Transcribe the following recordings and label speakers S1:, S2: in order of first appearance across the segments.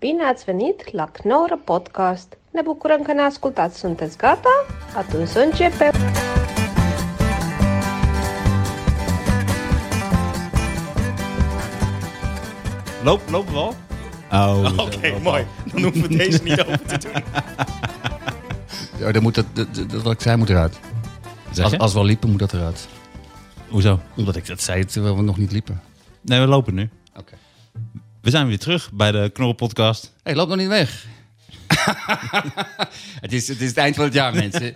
S1: Bine ați venit la Knorr Podcast! Ne bucurăm că ne ascultați! Sunteți gata? Atunci să începem!
S2: Loop, lopen we al?
S3: Oh,
S2: Oké, mooi. Dan hoeven we deze niet open te doen.
S4: Ja, dan moet dat, dat, dat- wat ik zei moet eruit.
S3: Zeg
S4: Als,
S3: je?
S4: als we al liepen moet dat eruit.
S3: Hoezo?
S4: Omdat ik dat zei terwijl we nog niet liepen.
S3: Nee, we lopen nu.
S4: Oké.
S3: We zijn weer terug bij de Knorren Podcast.
S4: Hey, loop nog niet weg. het, is, het is het eind van het jaar, mensen.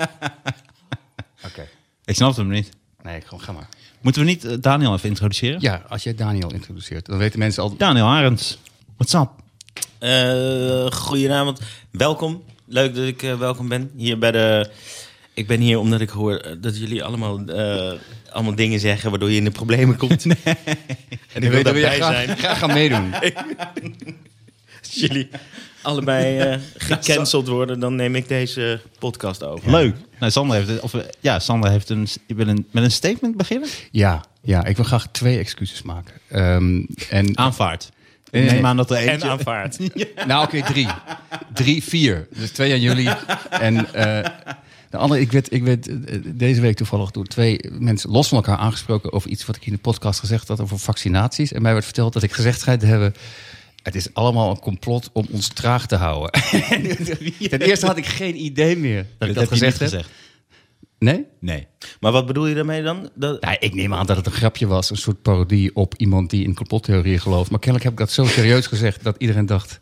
S4: Oké.
S3: Ik snapte hem niet.
S4: Nee, gewoon ga maar.
S3: Moeten we niet eh, Daniel even introduceren?
S4: Ja, als jij Daniel introduceert, dan weten mensen al...
S3: Daniel Arends. What's up?
S2: Eh goedenavond. Welkom. Leuk dat ik eh, welkom ben hier bij de... Ik ben hier omdat ik hoor eh, dat jullie allemaal, eh, allemaal dingen zeggen waardoor je in de problemen komt. En ik wil
S4: weten we
S2: daarbij
S4: graag,
S2: zijn.
S4: graag gaan meedoen.
S2: Als jullie allebei eh, gecanceld worden, dan neem ik deze podcast over.
S3: Leuk. Nou, Sander heeft, of, eh, ja, Sander heeft een, wil een, met een statement beginnen.
S4: Ja, ja, ik wil graag twee excuses maken. Ehm, en,
S3: Aanvaard. Ik
S4: Nee.
S3: neem aan dat er eentje...
S2: En aanvaard.
S4: Nou, oké, drie. Drie, vier. Dus twee aan jullie. En eh, de andere, ik werd, ik werd eh, deze week toevallig door twee mensen los van elkaar aangesproken over iets wat ik in de podcast gezegd had over vaccinaties. En mij werd verteld dat ik gezegd schijnt te hebben. Het is allemaal een complot om ons traag te houden. Ten eerste had ik geen idee meer dat
S3: Dat,
S4: ik dat,
S3: heb je
S4: gezegd
S3: niet
S4: heb.
S3: gezegd.
S4: Nee?
S3: Nee.
S2: Maar wat bedoel je daarmee dan? Dat,
S4: Nou, ik neem aan dat het een grapje was, een soort parodie op iemand die in complottheorieën gelooft. Maar kennelijk heb ik dat zo serieus gezegd dat iedereen dacht.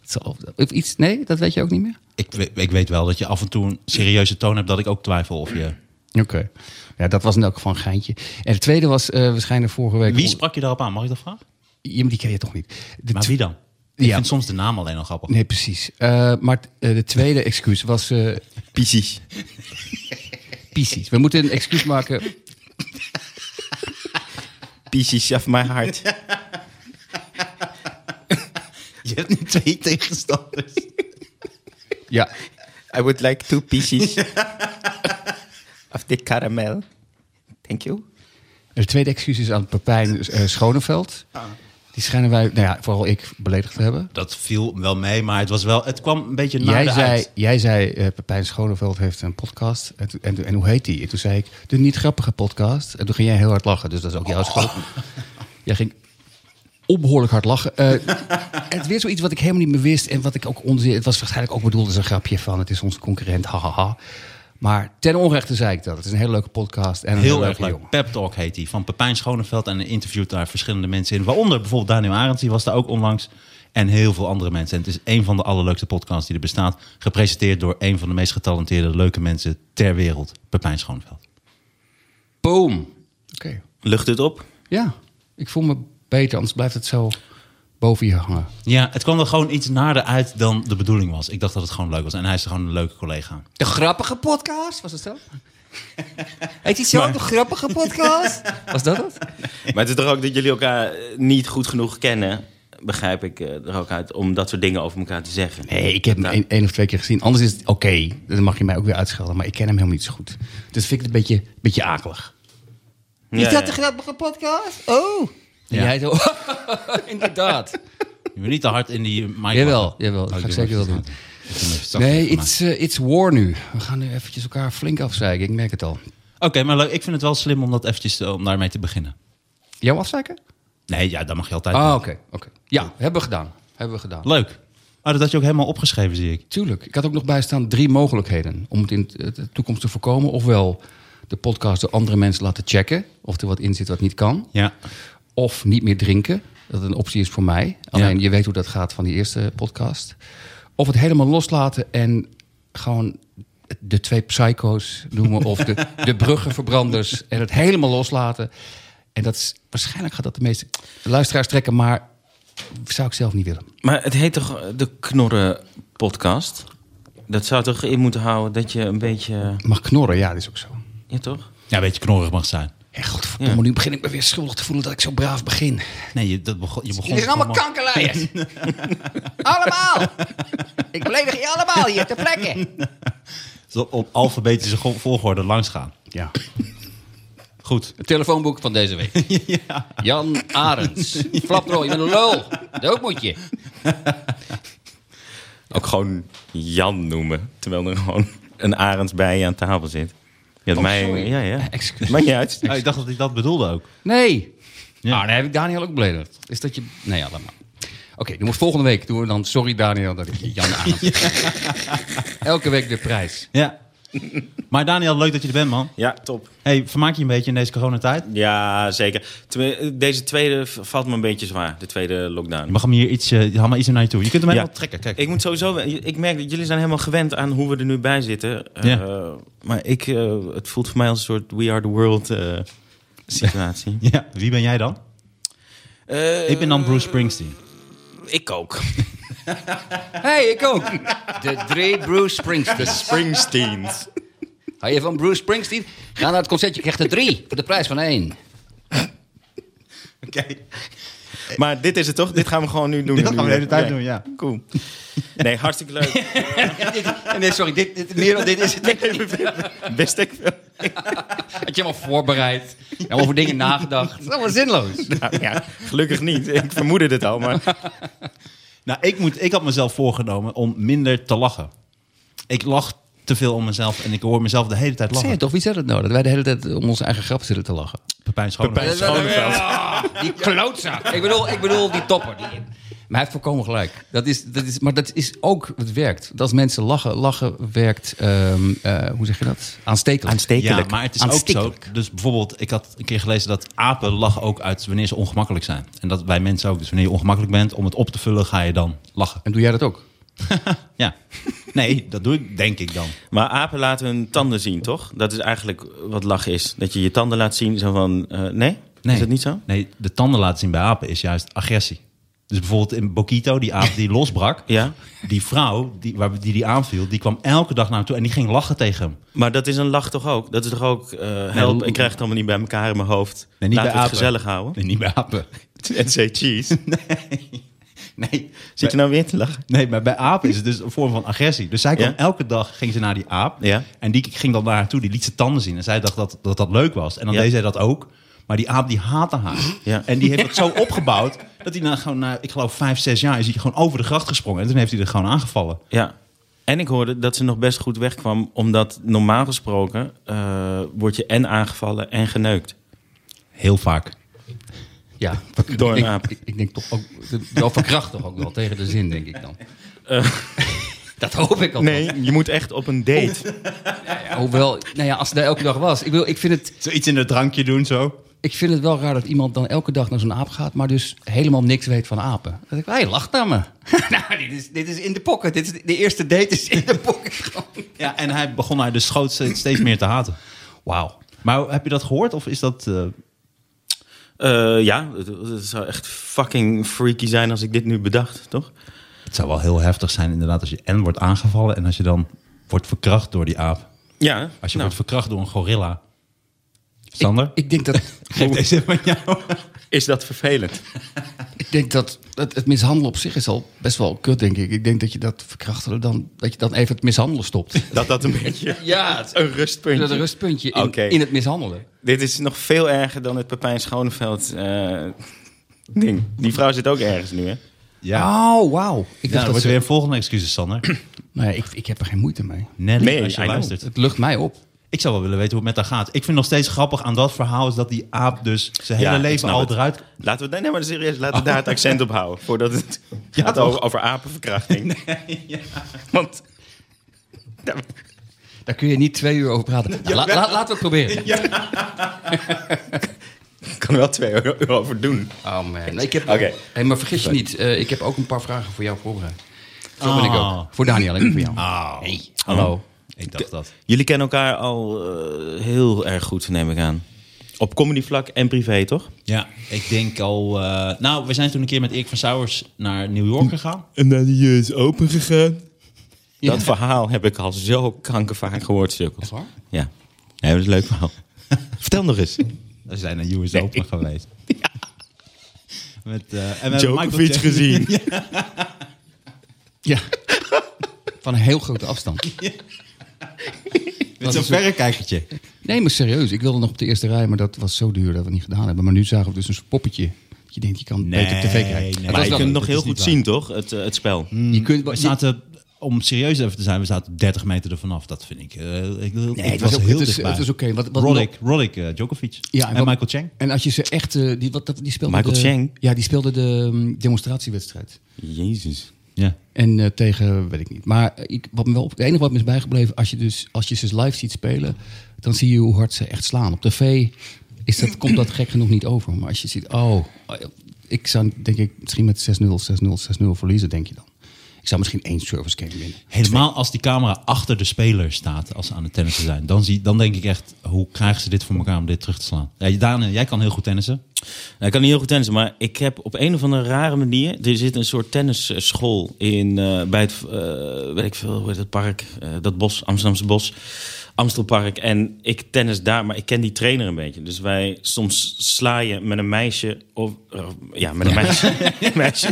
S4: het zal- Of iets, nee, dat weet je ook niet meer?
S3: Ik, we- ik weet wel dat je af en toe een serieuze toon hebt dat ik ook twijfel of je...
S4: Oké. Ja, dat was in elk geval een geintje. En de tweede was eh waarschijnlijk vorige week...
S3: Wie sprak je daarop aan? Mag ik dat vragen?
S4: Ja, maar die ken je toch niet? De
S3: Maar
S4: tw-
S3: wie dan? Ik
S4: Ja.
S3: vind soms de naam alleen al grappig.
S4: Nee, precies. Eh, maar t- eh, de tweede excuus was... eh
S2: Precies.
S4: Pisces. We moeten een excuus maken.
S2: Pisces of my heart.
S3: Je hebt nu twee tegenstanders.
S4: Ja.
S2: I would like two pieces of the caramel. Thank you.
S4: De tweede excuus is aan Pepijn eh, Schoneveld.
S3: Ah.
S4: Die schijnen wij, nou ja, vooral ik, beledigd te hebben.
S3: Dat viel wel mee, maar het, was wel, het kwam een beetje naar
S4: Jij
S3: de
S4: zei,
S3: uit.
S4: jij zei eh, Pepijn Schoneveld heeft een podcast. En, toen- en, toen- en hoe heet die? En toen zei ik, de niet grappige podcast. En toen ging jij heel hard lachen, dus dat is ook
S3: Oh.
S4: jouw schuld. Jij ging onbehoorlijk hard lachen. Eh, het weer zoiets wat ik helemaal niet meer wist. En wat ik ook onzin... Het was waarschijnlijk ook bedoeld als een grapje van... het is onze concurrent, hahaha. Maar ten onrechte zei ik dat. Het is een hele leuke podcast. En een
S3: Heel
S4: hele
S3: erg
S4: leuke
S3: leuk.
S4: jongen.
S3: Pep Talk heet die. Van Pepijn Schoneveld. En hij interviewt daar verschillende mensen in. Waaronder bijvoorbeeld Daniel Arends. Die was daar ook onlangs. En heel veel andere mensen. En het is een van de allerleukste podcasts die er bestaat. Gepresenteerd door een van de meest getalenteerde leuke mensen ter wereld. Pepijn Schoneveld.
S4: Boom. Oké.
S2: Lucht het op?
S4: Ja, ik voel me beter. Anders blijft het zo boven je hangen.
S3: Ja, het kwam er gewoon iets naarder uit dan de bedoeling was. Ik dacht dat het gewoon leuk was. En hij is gewoon een leuke collega.
S4: De grappige podcast, was het zo? Heet die zo, de grappige podcast? Was dat het?
S2: Maar het is toch ook dat jullie elkaar eh, niet goed genoeg kennen, begrijp ik eh, er ook uit, om dat soort dingen over elkaar te zeggen. Nou,
S4: Nee, ik heb hem één, één of twee keer gezien. Anders is het oké, dan mag je mij ook weer uitschelden. Maar ik ken hem helemaal niet zo goed. Dus vind ik het een beetje, beetje akelig.
S2: Ja, ja.
S4: grappige podcast? Oh! En
S3: Ja.
S4: jij zo, inderdaad.
S3: Je moet niet te hard in die mic.
S4: jawel,
S3: lachen.
S4: jawel, dat
S3: Oh,
S4: ga ik
S3: doe
S4: zeker wel
S3: het.
S4: doen.
S3: Ik doe hem even zacht
S4: Nee,
S3: voor mij.
S4: it's, eh, it's war nu. We gaan nu eventjes elkaar flink afzeiken, ik merk het al.
S3: Oké, maar leuk. Ik vind het wel slim om dat eventjes eh, om daarmee te beginnen.
S4: Jou afzeiken?
S3: Nee, ja, dat mag je altijd.
S4: Ah,
S3: doen.
S4: oké. oké. Ja, hebben we gedaan. Hebben we gedaan.
S3: Leuk. Ah, dat had je ook helemaal opgeschreven, zie ik.
S4: Tuurlijk. Ik had ook nog bij staan drie mogelijkheden om het in t- de toekomst te voorkomen. Ofwel de podcast door andere mensen laten checken of er wat in zit wat niet kan.
S3: Ja.
S4: Of niet meer drinken. Dat een optie is voor mij. Alleen
S3: Ja.
S4: je weet hoe dat gaat van die eerste podcast. Of het helemaal loslaten en gewoon de twee psycho's noemen. of de, de bruggenverbranders. En het helemaal loslaten. En dat is, waarschijnlijk gaat dat de meeste luisteraars trekken. Maar zou ik zelf niet willen.
S2: Maar het heet toch eh, de Knorren Podcast? Dat zou toch in moeten houden dat je een beetje. eh,
S4: Mag knorren, ja, dat is ook zo.
S2: Ja, toch?
S3: Ja, een beetje knorrig mag zijn.
S4: Hé, godverdomme, nu begin ik me weer schuldig te voelen dat ik zo braaf begin.
S3: Nee, je, dat begon, je begon...
S4: Jullie zijn allemaal
S3: gewoon-
S4: kankerlijers. allemaal. Ik beledig je allemaal hier ter plekke.
S3: Zo Op alfabetische go- volgorde langsgaan.
S4: Ja.
S3: Goed.
S4: Het telefoonboek van deze week. Jan Arends. Flaprol, je bent een lul. Dat moet je.
S2: gewoon Jan noemen. Terwijl er gewoon een arends bij je aan tafel zit. Je had mij,
S4: sorry.
S2: Ja, ja.
S4: Excuus.
S2: Maakt niet uit.
S3: Oh, ik dacht dat hij dat bedoelde ook.
S4: Nee. Nou, daar heb ik Daniel ook beledigd. Is dat je... Nee, ja, laat maar. Oké, doen we volgende week doen we dan... Sorry Daniel dat ik je Jan aan Elke week de prijs.
S3: Ja. Maar Daniel, leuk dat je er bent, man.
S2: Ja, top.
S3: Hey, vermaak je een beetje in deze coronatijd?
S2: Ja, zeker. Tenmin- Deze tweede v- valt me een beetje zwaar. De tweede lockdown.
S3: Je mag hem hier iets, eh, haal maar iets naar je toe. Je kunt hem helemaal trekken, kijk.
S2: Ik moet sowieso. Ik merk dat jullie zijn helemaal gewend aan hoe we er nu bij zitten. Eh,
S3: Ja.
S2: Maar ik, eh, het voelt voor mij als een soort We Are the World eh, situatie.
S3: Ja, wie ben jij dan?
S2: Eh,
S3: ik ben dan Bruce Springsteen.
S2: ik ook.
S4: hey, ik ook. De drie Bruce Springsteen.
S2: Springsteens.
S4: Hou je van Bruce Springsteen? Ga naar het concertje, je krijgt er drie voor de prijs van één.
S3: Oké.
S2: Maar dit is het toch? Dit gaan we gewoon nu doen.
S3: Dit gaan we de
S2: Nu,
S3: hele tijd
S2: eh,
S3: doen, ja.
S2: Cool. Nee, hartstikke leuk.
S4: Nee, sorry, dit, dit, meer dan dit is het niet.
S2: Best ik veel.
S4: Had je helemaal voorbereid, helemaal over dingen nagedacht. Dat is allemaal zinloos.
S2: Nou, ja, gelukkig niet. Ik vermoedde het al, maar
S3: Nou, ik, moet, ik had mezelf voorgenomen om minder te lachen. Ik lach te veel om mezelf en ik hoor mezelf de hele tijd
S4: Zeg je
S3: lachen.
S4: toch, wie zei dat nou? Dat wij de hele tijd om onze eigen grap zitten te lachen.
S3: Pepijn Schoonen.
S2: Pepijn Schoneveld.
S4: Die klootzak. Ik bedoel, ik bedoel die topper. Die... Maar hij heeft voorkomen gelijk. Dat is, dat is, maar dat is ook wat werkt. Dat als mensen lachen, lachen werkt, ehm, eh, hoe zeg je dat? Aanstekelijk.
S3: Ja, maar het is ook zo.
S4: Aanstekelijk.
S3: Dus bijvoorbeeld, ik had een keer gelezen dat apen lachen ook uit wanneer ze ongemakkelijk zijn. En dat wij mensen ook. Dus wanneer je ongemakkelijk bent, om het op te vullen, ga je dan lachen.
S4: En doe jij dat ook?
S3: Ja. Nee, dat doe ik denk ik dan.
S2: Maar apen laten hun tanden zien, toch? Dat is eigenlijk wat lach is. Dat je je tanden laat zien, zo van... eh, nee?
S3: Nee.
S2: Is dat niet zo?
S3: Nee, de tanden laten zien bij apen is juist agressie. Dus bijvoorbeeld in Bokito, die aap die losbrak.
S2: Ja.
S3: Die vrouw die, waar, die die aanviel, die kwam elke dag naar hem toe en die ging lachen tegen hem.
S2: Maar dat is een lach toch ook? Dat is toch ook... eh, help,
S3: l-
S2: ik krijg het allemaal niet bij elkaar in mijn hoofd.
S3: Nee, niet
S2: Laten
S3: bij
S2: we het
S3: apen.
S2: gezellig houden.
S3: Nee, niet bij apen.
S2: En say cheese.
S3: Nee.
S2: Zit je nou weer te lachen?
S3: Nee, maar bij apen is het dus een vorm van agressie. Dus zij kwam
S2: Ja.
S3: elke dag ging ze naar die aap.
S2: Ja.
S3: En die ging dan naar haar toe. Die liet ze tanden zien. En zij dacht dat dat, dat leuk was. En dan
S2: Ja.
S3: deed zij dat ook. Maar die aap die haatte haar.
S2: Ja.
S3: En die heeft dat zo opgebouwd. Dat hij na, gewoon na, ik geloof, vijf, zes jaar is hij gewoon over de gracht gesprongen. En toen heeft hij er gewoon aangevallen.
S2: Ja. En ik hoorde dat ze nog best goed wegkwam. Omdat normaal gesproken eh, word je en aangevallen en geneukt.
S3: Heel vaak.
S4: Ja.
S2: Door een
S4: ik,
S2: aap.
S4: Ik, ik denk toch ook, wel verkracht toch ook wel tegen de zin, denk ik dan. Eh. dat hoop ik al.
S2: Nee, je moet echt op een date.
S4: hoewel, nou ja, als het daar elke dag was. Ik, wil, ik vind het...
S3: Zoiets in het drankje doen zo.
S4: Ik vind het wel raar dat iemand dan elke dag naar zo'n aap gaat, maar dus helemaal niks weet van apen. Dan denk ik, hij lacht naar me. nou, dit is, dit is in de pocket. Dit is, de eerste date is in de pocket. gewoon.
S3: Ja, en hij begon haar dus schoot steeds steeds meer te haten. Wauw. Maar heb je dat gehoord? Of is dat... eh,
S2: Eh, ja, het, het zou echt fucking freaky zijn als ik dit nu bedacht, toch?
S3: Het zou wel heel heftig zijn inderdaad als je en wordt aangevallen... en als je dan wordt verkracht door die aap.
S2: Ja.
S3: Als je
S2: nou.
S3: wordt verkracht door een gorilla. Sander?
S4: Ik denk dat,
S3: geef deze van jou.
S2: Is dat vervelend?
S4: ik denk dat het, het mishandelen op zich is al best wel kut, denk ik. Ik denk dat je dat verkrachten dan, dat je dan even het mishandelen stopt.
S2: Dat dat een beetje
S4: ja, het
S2: een rustpuntje.
S4: dat een rustpuntje in,
S2: Oké.
S4: in het mishandelen.
S2: Dit is nog veel erger dan het Pepijn Schoneveld eh, ding. Die vrouw zit ook ergens nu, hè?
S3: Ja,
S4: Oh, wauw. Ik
S3: nou,
S4: dacht
S3: dan
S4: dat
S3: wordt
S4: ze,
S3: er weer een volgende excuses, Sander.
S4: Nou ja, ik, ik heb er geen moeite mee.
S3: Nelly,
S2: Nee,
S3: als je
S2: I know.
S3: luistert.
S4: Het lucht mij op.
S3: Ik zou wel willen weten hoe het met haar gaat. Ik vind nog steeds grappig aan dat verhaal... is dat die aap dus zijn
S2: Ja,
S3: hele
S2: ik
S3: leven
S2: snap
S3: al
S2: het.
S3: eruit...
S2: Laten we, nee, maar serieus, laten we daar het accent op houden. Voordat het gaat
S3: toch?
S2: over, over apenverkrachting. Want
S4: Daar kun je niet twee uur over praten. Nou, la- la- laten we het proberen.
S2: ik kan er wel twee euro over doen.
S4: Oh man. Nee, ik heb...
S2: Oké.
S4: Hey, maar vergis je niet, eh, ik heb ook een paar vragen voor jou voorbereid. Zo ben ik
S3: Ah.
S4: ook. Voor Daniel en voor jou.
S3: Oh.
S4: Hallo.
S3: Ik dacht dat.
S2: Jullie kennen elkaar al eh, heel erg goed, neem ik aan. Op comedyvlak en privé, toch?
S3: Ja, ik denk al... eh, nou, we zijn toen een keer met Erik van Sauers naar New York gegaan.
S2: En dan die is open gegaan.
S4: Ja.
S2: Dat verhaal heb ik al zo kankervaak gehoord, sukkels.
S4: waar?
S2: Ja. Nee, dat is een leuk verhaal. Vertel nog eens.
S3: We zijn naar US Open geweest. Met, eh, en we hebben Michael
S2: Djokovic
S3: Jackson-
S2: gezien.
S4: Ja. Van een heel grote afstand.
S3: Met zo'n verrekijkertje.
S4: Nee, maar serieus. Ik wilde nog op de eerste rij, maar dat was zo duur dat we het niet gedaan hebben. Maar nu zagen we dus een soort poppetje. Dat je denkt, je kan
S3: Nee,
S4: beter op tv kijken.
S3: nee.
S4: Het
S2: Maar
S4: was
S2: je
S4: wel
S2: kunt
S4: leuk.
S2: nog heel
S3: is
S2: goed
S3: niet
S2: zien, toch? Het, eh, het spel.
S4: Je kunt, wel-
S3: We zaten om serieus even te zijn, we zaten 30 meter ervan af. Dat vind ik. eh, ik nee,
S4: het was ook- het is- het is oké. Wat- wat-
S3: Roddick, Roddick eh, Djokovic
S4: Ja,
S3: en
S4: wat-
S3: Michael Chang.
S4: En als je ze echt... eh, die, wat, dat- die speelde
S2: Michael
S4: de-
S2: Chang?
S4: Ja, die speelde de mm, demonstratiewedstrijd.
S2: Jezus.
S3: Ja.
S4: En eh, tegen, weet ik niet. Maar eh, ik, wat me wel, het enige wat me is bijgebleven, als je, dus, als je ze live ziet spelen, dan zie je hoe hard ze echt slaan. Op tv is dat, komt dat gek genoeg niet over. Maar als je ziet, oh, ik zou denk ik misschien met 6-0, 6-0, 6-0 verliezen, denk je dan. Ik zou misschien één service game winnen.
S3: Helemaal als die camera achter de speler staat als ze aan het tennissen zijn. Dan, zie, dan denk ik echt, hoe krijgen ze dit voor elkaar om dit terug te slaan? Ja, Daan, eh, jij kan heel goed tennissen.
S2: Nou, ik kan niet heel goed tennissen, maar ik heb op een of andere rare manier... Er zit een soort tennisschool in, eh, bij het, eh, weet ik veel, hoe heet het park? Eh, dat bos, Amsterdamse bos. Amstelpark. En ik tennis daar, maar ik ken die trainer een beetje. Dus wij soms sla je met een meisje of... eh, ja, met een meisje. meisje.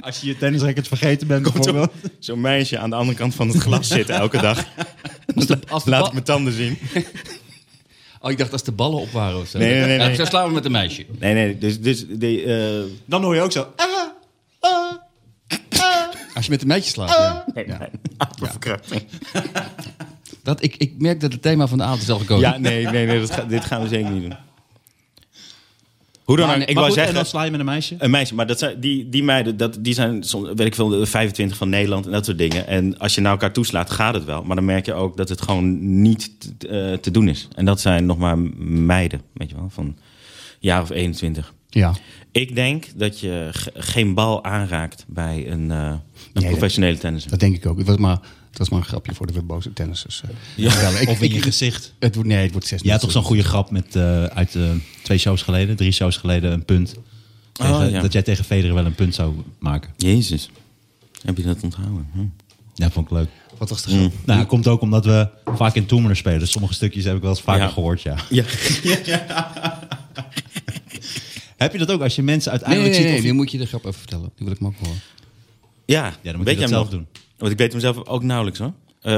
S3: Als je je tennisracket vergeten bent
S2: Zo'n- Zo'n meisje aan de andere kant van het glas zitten elke dag.
S4: als de
S2: Laat
S4: ba-
S2: ik mijn tanden zien.
S4: Oh, ik dacht als de ballen op waren of zo.
S2: Nee, nee, nee,
S4: Ja,
S2: nee.
S4: zo slaan we met een meisje.
S2: Nee, nee, dus... dus de, eh,
S3: Dan hoor je ook zo.
S4: Als je met een meisje slaat, ja.
S2: Nee, nee. Verkrachting.
S4: Dat, ik, ik merk dat het thema van de avond is al gekomen.
S2: Ja, nee, nee, nee dat ga- dit gaan we zeker niet doen. Hoe dan
S4: Maar
S2: ook,
S4: nee,
S2: ik
S3: Maar
S2: wou
S3: goed, en
S2: zeggen...
S3: dan sla je met een meisje.
S2: Een meisje, maar dat zijn, die, die meiden, dat, die zijn soms, weet ik veel, de 25 van Nederland en dat soort dingen. En als je naar elkaar toeslaat, gaat het wel. Maar dan merk je ook dat het gewoon niet te, eh, te doen is. En dat zijn nog maar meiden, weet je wel, van een jaar of 21.
S4: ja.
S2: Ik denk dat je ge- geen bal aanraakt bij een, eh, een
S4: dat-
S2: professionele tennisser.
S4: Dat denk ik ook. Het was maar, het was maar een grapje voor de weer boze tennissers. eh.
S2: Ja,
S4: maar ik-
S3: of in
S4: ik-
S3: je gezicht.
S4: Het wordt, nee, het wordt 6
S3: Je had toch zo'n goede grap met, eh, uit eh, twee shows geleden, drie shows geleden, een punt. Tegen-
S2: ja.
S3: Dat jij tegen Federer wel een punt zou maken.
S2: Jezus, heb je dat onthouden? Hm.
S3: Ja, vond ik leuk.
S4: Wat was de grap?
S3: Nou, dat komt ook omdat we vaak in Toemener spelen. Sommige stukjes heb ik wel eens vaker
S2: Ja.
S3: gehoord, ja.
S2: Ja.
S3: Heb je dat ook als je mensen
S4: Nee, nee,
S3: uiteindelijk
S4: nee,
S3: ziet?
S4: nee, nu
S3: of
S4: moet je de grap even vertellen. Die wil ik maar ook horen.
S2: Ja,
S3: dan moet je
S2: weet
S3: dat
S2: jij hem
S3: zelf
S2: nog?
S3: doen.
S2: Want ik weet hem zelf ook nauwelijks hoor. Eh,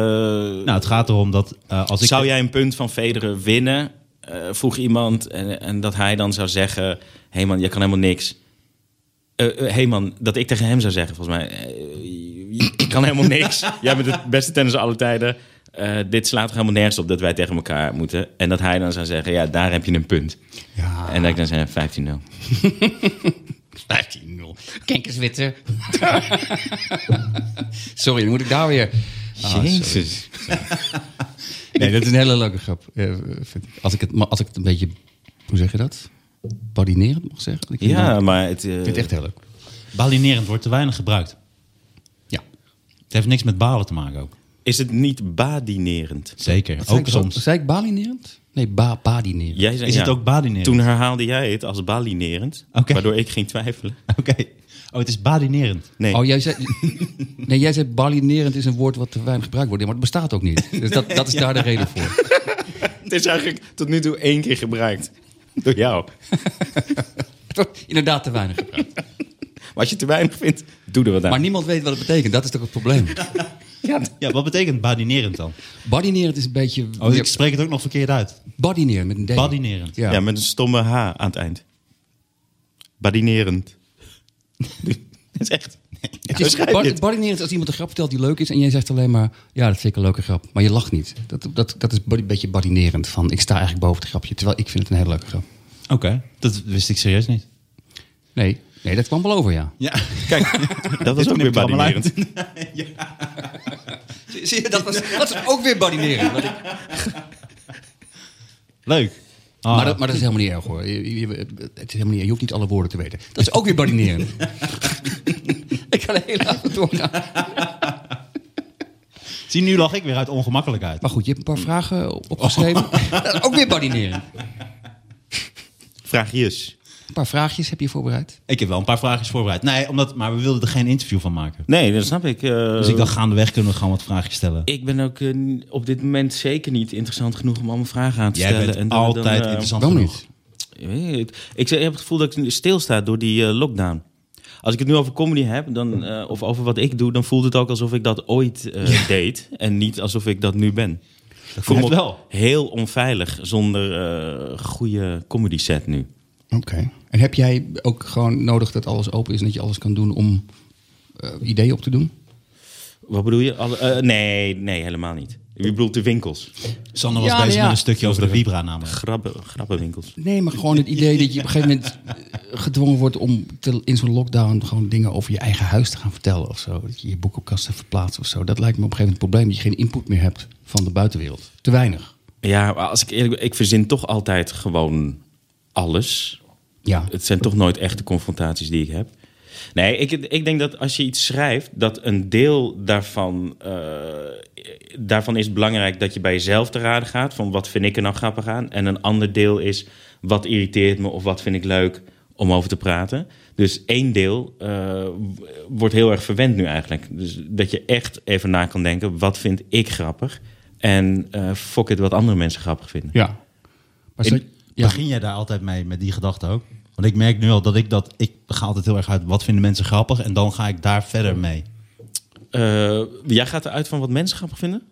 S3: Nou, het gaat erom dat eh, als ik...
S2: zou jij een punt van Federer winnen? Eh, vroeg iemand. En, en dat hij dan zou zeggen: Hé hey man, jij kan helemaal niks. Eh eh, hey man, dat ik tegen hem zou zeggen, volgens mij. eh, je- ik kan helemaal niks. Jij bent het beste tennis aller tijden. Eh, dit slaat toch helemaal nergens op dat wij tegen elkaar moeten. En dat hij dan zou zeggen: Ja, daar heb je een punt.
S4: Ja.
S2: En dat ik dan zeg: 15-0.
S4: 15-0. Kijk eens, Witte. sorry, dan moet ik daar weer... Ah, sorry.
S2: Jezus.
S4: Nee, dat is een hele leuke grap. eh, vind ik. Als ik het, maar als ik het een beetje... Hoe zeg je dat? Badinerend mag zeggen? Ik vind
S2: Ja,
S4: het-
S2: maar het. eh,
S4: Ik vind het echt heel leuk.
S3: Balinerend wordt te weinig gebruikt.
S4: Ja.
S3: Het heeft niks met balen te maken ook.
S2: Is het niet badinerend?
S3: Zeker,
S4: Zei
S3: ook
S4: ik dat-
S3: soms.
S4: Zei ik balinerend? Nee, ba badinerend.
S2: Jij zei,
S3: Is het ook badinerend?
S2: Toen herhaalde jij het als balinerend,
S3: Oké.
S2: waardoor ik ging twijfelen.
S3: Oké. Oh, het is badinerend.
S2: Nee,
S4: Oh, jij zei, nee, jij zei balinerend is een woord wat te weinig gebruikt wordt. Ja, maar het bestaat ook niet. Dus dat, dat is daar de reden voor.
S2: het is eigenlijk tot nu toe één keer gebruikt. Door jou.
S4: Het wordt inderdaad te weinig gebruikt.
S2: Maar als je te weinig vindt, doe er wat aan.
S4: Maar niemand weet wat het betekent. Dat is toch het probleem?
S3: Ja, wat betekent badinerend dan?
S4: Badinerend is een beetje...
S3: Oh, ik spreek het ook nog verkeerd uit.
S4: Badinerend met een D.
S3: Badinerend.
S2: ja.
S4: Ja.
S2: met een stomme H aan het eind. Badinerend. dat is echt.
S4: Het
S2: Hoe
S4: is
S2: schrijf je
S4: bad-
S2: het?
S4: badinerend is als iemand een grap vertelt die leuk is... en jij zegt alleen maar, ja, dat vind ik een leuke grap. Maar je lacht niet. Dat, dat, dat is bad- een beetje badinerend van, ik sta eigenlijk boven het grapje. Terwijl ik vind het een hele leuke grap.
S3: Oké, dat wist ik serieus niet.
S4: Nee, nee dat kwam wel over, ja.
S3: Ja,
S2: Kijk, dat was ook weer
S3: knip ik er allemaal
S2: badinerend.
S4: Zie je, dat was, dat is ook weer badinerend. Wat ik-
S3: leuk. Ah,
S4: Maar, dat, maar dat is helemaal niet erg hoor. Je, je- je- het is helemaal niet, je hoeft niet alle woorden te weten. Dat is ook weer badinerend. ik ga de hele avond doorgaan.
S3: Zie, nu lach ik weer uit ongemakkelijkheid.
S4: Maar goed, je hebt een paar vragen op- opgeschreven. Oh. Dat is ook weer badinerend.
S2: Vraagjes.
S4: Een paar vraagjes heb je voorbereid.
S3: Ik heb wel een paar vraagjes voorbereid. Nee, omdat, maar we wilden er geen interview van maken.
S2: Nee, dat snap ik. eh,
S3: Dus ik dacht, gaandeweg kunnen we gewoon wat vraagjes stellen.
S2: ik ben ook eh, op dit moment zeker niet interessant genoeg om allemaal vragen aan te
S3: Jij
S2: stellen.
S3: bent
S2: En dan-
S3: altijd
S2: dan, eh,
S3: interessant
S4: Waarom
S3: genoeg.
S4: niet?
S2: Ik weet het. Ik zeg- ik heb het gevoel dat ik stilsta door die eh, lockdown. Als ik het nu over comedy heb, dan, eh, of over wat ik doe, dan voelt het ook alsof ik dat ooit eh, deed. En niet alsof ik dat nu ben. Ik voel me
S3: klopt wel.
S2: heel onveilig zonder eh goede comedy set nu.
S4: Oké. En heb jij ook gewoon nodig dat alles open is en dat je alles kan doen om eh, ideeën op te doen?
S2: Wat bedoel je? Alle- eh, nee, nee, helemaal niet. Je bedoelt de winkels.
S3: Sander was
S4: Ja,
S3: bezig
S4: nou ja.
S3: met een stukje over de Vibra namelijk.
S2: Grabben, grabbenwinkels.
S4: Nee, maar gewoon het idee dat je op een gegeven moment eh, gedwongen wordt om te- in zo'n lockdown gewoon dingen over je eigen huis te gaan vertellen of zo. Dat je je boekenkasten verplaatst of zo. Dat lijkt me op een gegeven moment het probleem dat je geen input meer hebt van de buitenwereld. Te weinig.
S2: Ja, maar als ik eerlijk ben, ik verzin toch altijd gewoon alles.
S4: Ja.
S2: Het zijn toch nooit echte confrontaties die ik heb. Nee, ik, ik denk dat als je iets schrijft, dat een deel daarvan, eh, daarvan is belangrijk dat je bij jezelf te raden gaat. Van wat vind ik er nou grappig aan? En een ander deel is wat irriteert me of wat vind ik leuk om over te praten. Dus één deel eh, w- wordt heel erg verwend nu eigenlijk. Dus dat je echt even na kan denken, wat vind ik grappig? En eh fuck it wat andere mensen grappig vinden.
S4: Ja. Maar
S2: In-
S4: zo- ja.
S3: Begin jij daar altijd mee met die gedachte ook? Want ik merk nu al dat ik dat... Ik ga altijd heel erg uit wat vinden mensen grappig en dan ga ik daar verder mee.
S2: Eh, jij gaat eruit van wat mensen grappig vinden?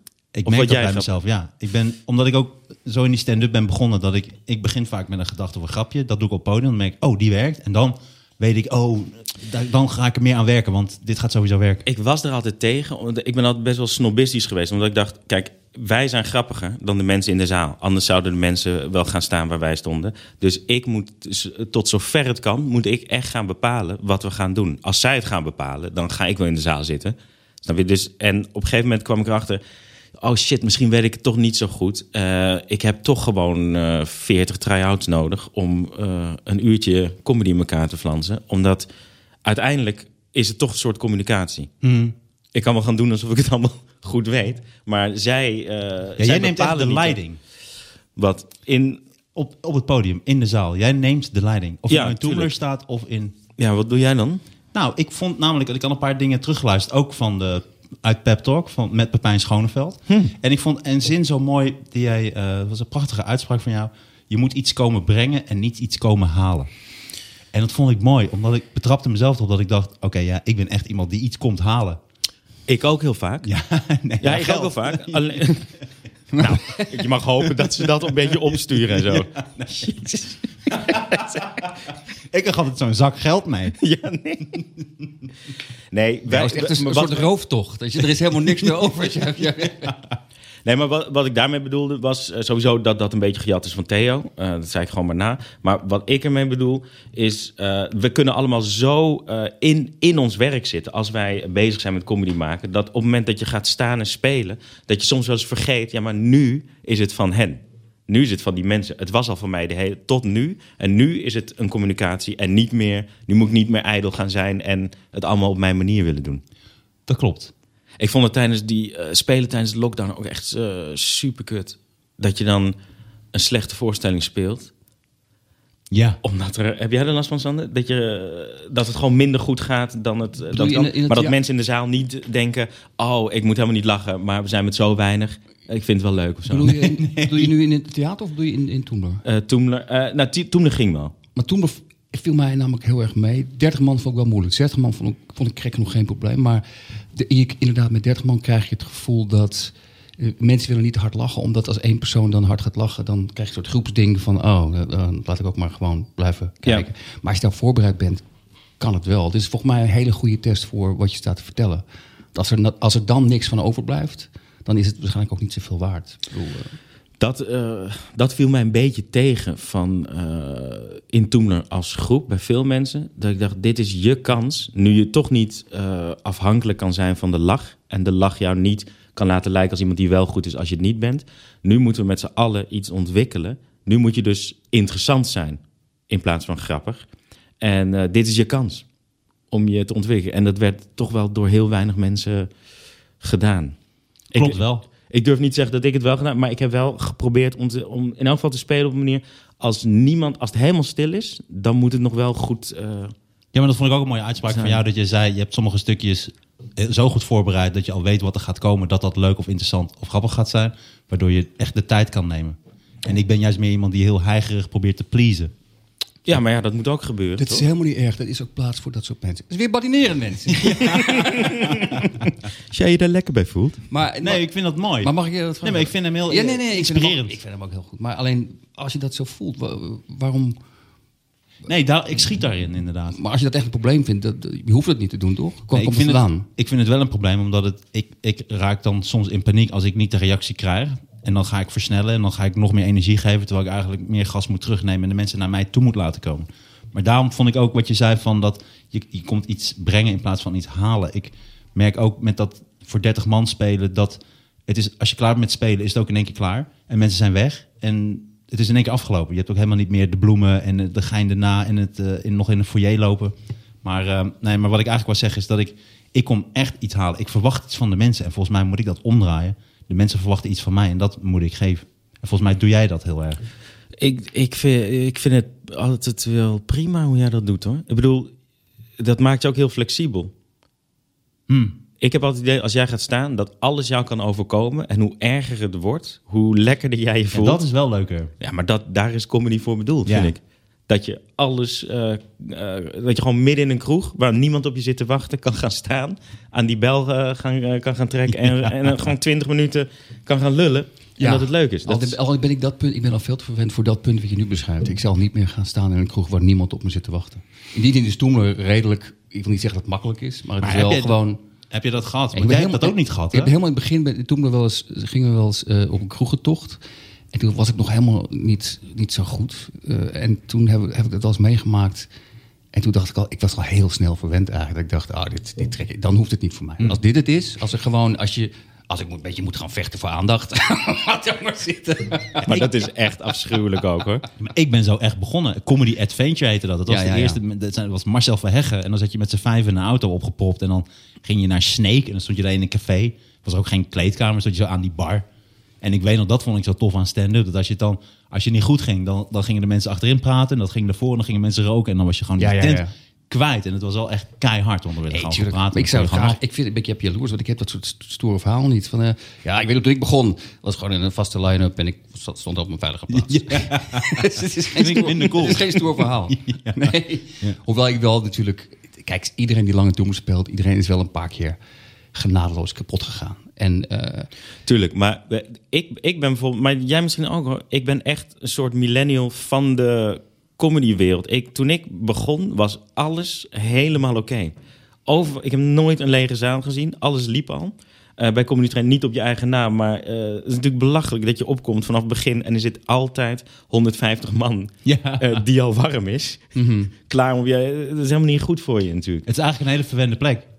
S2: Of
S3: Ik merk
S2: wat
S3: dat bij
S2: jij grappig-
S3: mezelf, ja. Ik ben, omdat ik ook zo in die stand-up ben begonnen, dat ik, ik begin vaak met een gedachte of een grapje. Dat doe ik op het podium, dan merk ik, oh, die werkt. En dan weet ik, oh, da- dan ga ik er meer aan werken, want dit gaat sowieso werken.
S2: Ik was er altijd tegen. omdat Ik ben altijd best wel snobistisch geweest. Omdat ik dacht, kijk, wij zijn grappiger dan de mensen in de zaal. Anders zouden de mensen wel gaan staan waar wij stonden. Dus ik moet, s- tot zover het kan, moet ik echt gaan bepalen wat we gaan doen. Als zij het gaan bepalen, dan ga ik wel in de zaal zitten. Snap je? Dus, en op een gegeven moment kwam ik erachter... Oh shit, misschien weet ik het toch niet zo goed. Eh, ik heb toch gewoon eh 40 try-outs nodig om eh, een uurtje comedy in elkaar te flansen. Omdat uiteindelijk is het toch een soort communicatie.
S3: Hmm.
S2: Ik kan wel gaan doen alsof ik het allemaal goed weet. Maar zij. eh,
S3: Ja,
S2: zij
S3: jij neemt echt
S2: bepalen
S3: de
S2: niet
S3: leiding
S2: Wat in.
S3: op, op het podium, in de zaal. Jij neemt de leiding. Of je
S2: Ja,
S3: nou in Toemler
S2: tuurlijk.
S3: staat of in...
S2: Ja, wat doe jij dan?
S3: Nou, ik vond namelijk, ik had een paar dingen teruggeluisterd, ook van de, uit Pep Talk van, met Pepijn Schoneveld.
S2: Hm.
S3: En ik vond een zin zo mooi, die jij, eh, dat was een prachtige uitspraak van jou. Je moet iets komen brengen en niet iets komen halen. En dat vond ik mooi, omdat ik betrapte mezelf erop dat ik dacht, oké, ja, ik ben echt iemand die iets komt halen.
S2: Ik ook heel vaak. Ja,
S3: Ja, nee,
S2: ik
S3: geld.
S2: ook heel vaak. Alleen- nou, je mag hopen dat ze dat een beetje opsturen en zo.
S3: Ik had altijd zo'n zak geld mee.
S2: Ja, nee. Nee, wij,
S4: het is echt een,
S2: wat-
S4: soort rooftocht. Dat je, er is helemaal niks meer over. Ja, ja.
S2: Nee, maar wat, wat ik daarmee bedoelde was eh, sowieso dat dat een beetje gejat is van Theo. Eh, dat zei ik gewoon maar na. Maar wat ik ermee bedoel is, eh, we kunnen allemaal zo eh, in, in ons werk zitten als wij bezig zijn met comedy maken. Dat op het moment dat je gaat staan en spelen, dat je soms wel eens vergeet, ja maar nu is het van hen. Nu is het van die mensen. Het was al van mij de hele, tot nu. En nu is het een communicatie en niet meer. Nu moet ik niet meer ijdel gaan zijn en het allemaal op mijn manier willen doen.
S3: Dat klopt.
S2: Ik vond het tijdens die eh, spelen tijdens de lockdown ook echt super kut. Dat je dan een slechte voorstelling speelt.
S3: Ja.
S2: Omdat er. Heb jij er last van, Sander? Dat, je, eh, dat het gewoon minder goed gaat dan het. eh, dan
S4: je
S2: het-
S4: in- in het-
S2: maar dat
S4: ja.
S2: mensen in de zaal niet denken: oh, ik moet helemaal niet lachen, maar we zijn met zo weinig. Ik vind het wel leuk of zo.
S4: Bedoel je, bedoel je nu in het theater of doe je in, in Toemler?
S2: Eh, Toemler- eh, nou, ti- Toemler ging wel.
S4: Maar toen bev- viel mij namelijk heel erg mee. 30 man vond ik wel moeilijk. 60 man vond ik, vond ik krek nog geen probleem. Maar de, je- inderdaad, met 30 man krijg je het gevoel dat eh, mensen willen niet hard lachen. Omdat als één persoon dan hard gaat lachen, dan krijg je een soort groepsding van: oh, eh, eh, laat ik ook maar gewoon blijven kijken. Maar als je daar voorbereid bent, kan het wel. Dit is volgens mij een hele goede test voor wat je staat te vertellen. Want Als er, na- als er dan niks van overblijft, dan is het waarschijnlijk ook niet zoveel waard. Ik bedoel, eh,
S2: Dat, eh, dat viel mij een beetje tegen van eh, in Toemler als groep bij veel mensen. Dat ik dacht, dit is je kans. Nu je toch niet eh, afhankelijk kan zijn van de lach. En de lach jou niet kan laten lijken als iemand die wel goed is als je het niet bent. Nu moeten we met z'n allen iets ontwikkelen. Nu moet je dus interessant zijn in plaats van grappig. En eh, dit is je kans om je te ontwikkelen. En dat werd toch wel door heel weinig mensen gedaan. Ik-
S3: Klopt wel.
S2: ik durf niet te zeggen dat ik het wel gedaan heb, maar ik heb wel geprobeerd om, te- om in elk geval te spelen op een manier. Als niemand, als het helemaal stil is, dan moet het nog wel goed. eh,
S3: Ja, maar dat vond ik ook een mooie uitspraak van jou. Dat je zei, je hebt sommige stukjes eh, zo goed voorbereid... dat je al weet wat er gaat komen. Dat dat leuk of interessant of grappig gaat zijn. Waardoor je echt de tijd kan nemen. En ik ben juist meer iemand die heel heigerig probeert te pleasen.
S2: ja, maar ja, dat moet ook gebeuren.
S4: dit
S2: toch?
S4: is helemaal niet erg. Dat is ook plaats voor dat soort mensen. Het is weer badineren mensen.
S2: Als jij je daar lekker bij voelt.
S4: Maar,
S3: Nee, ik vind dat mooi.
S4: Maar mag ik je dat vragen?
S3: Nee, maar ik vind hem heel
S4: ja, nee, nee, ik vind hem ook-
S3: inspirerend.
S4: Ik vind hem ook heel goed. Maar alleen als je dat zo voelt, wa- waarom
S3: Nee, daar, ik schiet daarin inderdaad.
S4: Maar als je dat echt een probleem vindt, dat, dat- je hoeft dat niet te doen, toch? Kom,
S3: Nee,
S4: kom
S3: ik, vind
S4: het
S3: het,
S4: vandaan.
S3: ik vind het wel een probleem, omdat het, ik, ik raak dan soms in paniek als ik niet de reactie krijg. En dan ga ik versnellen en dan ga ik nog meer energie geven... terwijl ik eigenlijk meer gas moet terugnemen en de mensen naar mij toe moet laten komen. Maar daarom vond ik ook wat je zei van dat je, je komt iets brengen in plaats van iets halen. Ik merk ook met dat voor 30 man spelen dat het is, als je klaar bent met spelen is het ook in één keer klaar. En mensen zijn weg en het is in één keer afgelopen. Je hebt ook helemaal niet meer de bloemen en eh, de gein erna en het eh, in, nog in een foyer lopen. Maar, eh, nee, maar wat ik eigenlijk wil zeggen is dat ik... Ik kom echt iets halen. Ik verwacht iets van de mensen. En volgens mij moet ik dat omdraaien. De mensen verwachten iets van mij en dat moet ik geven. En volgens mij doe jij dat heel erg.
S2: Ik, ik, vind, ik vind het altijd wel prima hoe jij dat doet hoor. Ik bedoel, dat maakt je ook heel flexibel. Ik heb altijd het idee, als jij gaat staan, dat alles jou kan overkomen. En hoe erger het wordt, hoe lekkerder jij je
S3: En
S2: voelt.
S3: dat is wel leuker.
S2: Ja, maar dat, daar is comedy voor bedoeld,
S3: Ja.
S2: vind ik. Dat je alles, eh, eh, dat je gewoon midden in een kroeg waar niemand op je zit te wachten kan gaan staan, aan die bel eh, gaan, eh, kan gaan trekken en, en dan gewoon twintig minuten kan gaan lullen. En dat het leuk is.
S4: Al,
S2: Dat is
S4: al ben ik dat punt, ik ben al veel te verwend voor dat punt wat je nu beschrijft. Ik zal niet meer gaan staan in een kroeg waar niemand op me zit te wachten. In die zin is toen redelijk, ik wil niet zeggen dat het makkelijk is, maar het
S3: Maar
S4: is wel
S3: heb je-
S4: gewoon...
S3: Heb je dat gehad?
S4: Ik
S3: Want
S4: ben e-
S3: jij hebt dat ook niet gehad,
S4: Ik heb
S3: hè?
S4: helemaal in het begin, bij- toen we wel eens, gingen we wel eens eh, op een kroegentocht. En toen was ik nog helemaal niet, niet zo goed. Eh, en toen heb, ik- heb ik dat wel eens meegemaakt. En toen dacht ik al, ik was al heel snel verwend eigenlijk. Ik dacht, ah, dit, dit trek ik, dan hoeft het niet voor mij.
S3: Hmm.
S4: Als dit het is, als er gewoon, als je, als ik een beetje moet gaan vechten voor aandacht. Laat dan maar zitten.
S2: Maar dat is echt afschuwelijk ook hoor.
S3: Maar ik ben zo echt begonnen. Comedy Adventure heette dat. Dat was,
S4: Ja,
S3: de
S4: ja, ja.
S3: eerste, dat zijn- was Marcel van Heggen. En dan zat je met z'n vijf in een auto opgepopt. En dan ging je naar Snake. En dan stond je daar in een café. Was er ook geen kleedkamer. Stond je zo aan die bar. En ik weet nog, dat vond ik zo tof aan stand-up. Dat als je het dan, als je niet goed ging, dan, dan gingen de mensen achterin praten. En dat ging ervoor. En dan gingen mensen roken. En dan was je gewoon
S4: Ja,
S3: die
S4: ja,
S3: tent
S4: ja.
S3: kwijt. En het was wel echt keihard onder willen
S4: Nee,
S3: gaan
S4: tuurlijk.
S3: praten.
S4: Maar Ik zou
S3: gewoon
S4: graag, ik vind een beetje jaloers, want ik heb dat soort st- stoere verhaal niet. Van, eh, ja, ik weet ook toen ik begon, was gewoon in een vaste line-up en ik zat- stond op mijn veilige plaats. Dus het is geen
S3: Klinkt
S4: stoer,
S3: minder cool.
S4: het is geen stoer verhaal. Nee. Hoewel ik wel natuurlijk, kijk, iedereen die lange doem speelt, iedereen is wel een paar keer genadeloos kapot gegaan. En eh,
S2: Tuurlijk, maar eh, ik, ik ben bijvoorbeeld, maar jij misschien ook hoor. Ik ben echt een soort millennial van de comedywereld. Ik, toen ik begon was alles helemaal oké. Over, Ik heb nooit een lege zaal gezien, alles liep al. Eh, bij Comedy Train niet op je eigen naam, maar eh, het is natuurlijk belachelijk dat je opkomt vanaf het begin en er zit altijd 150 man
S3: Ja.
S2: eh, die al warm is. Klaar om je, dat is helemaal niet goed voor je natuurlijk.
S3: Het is eigenlijk een hele verwende plek.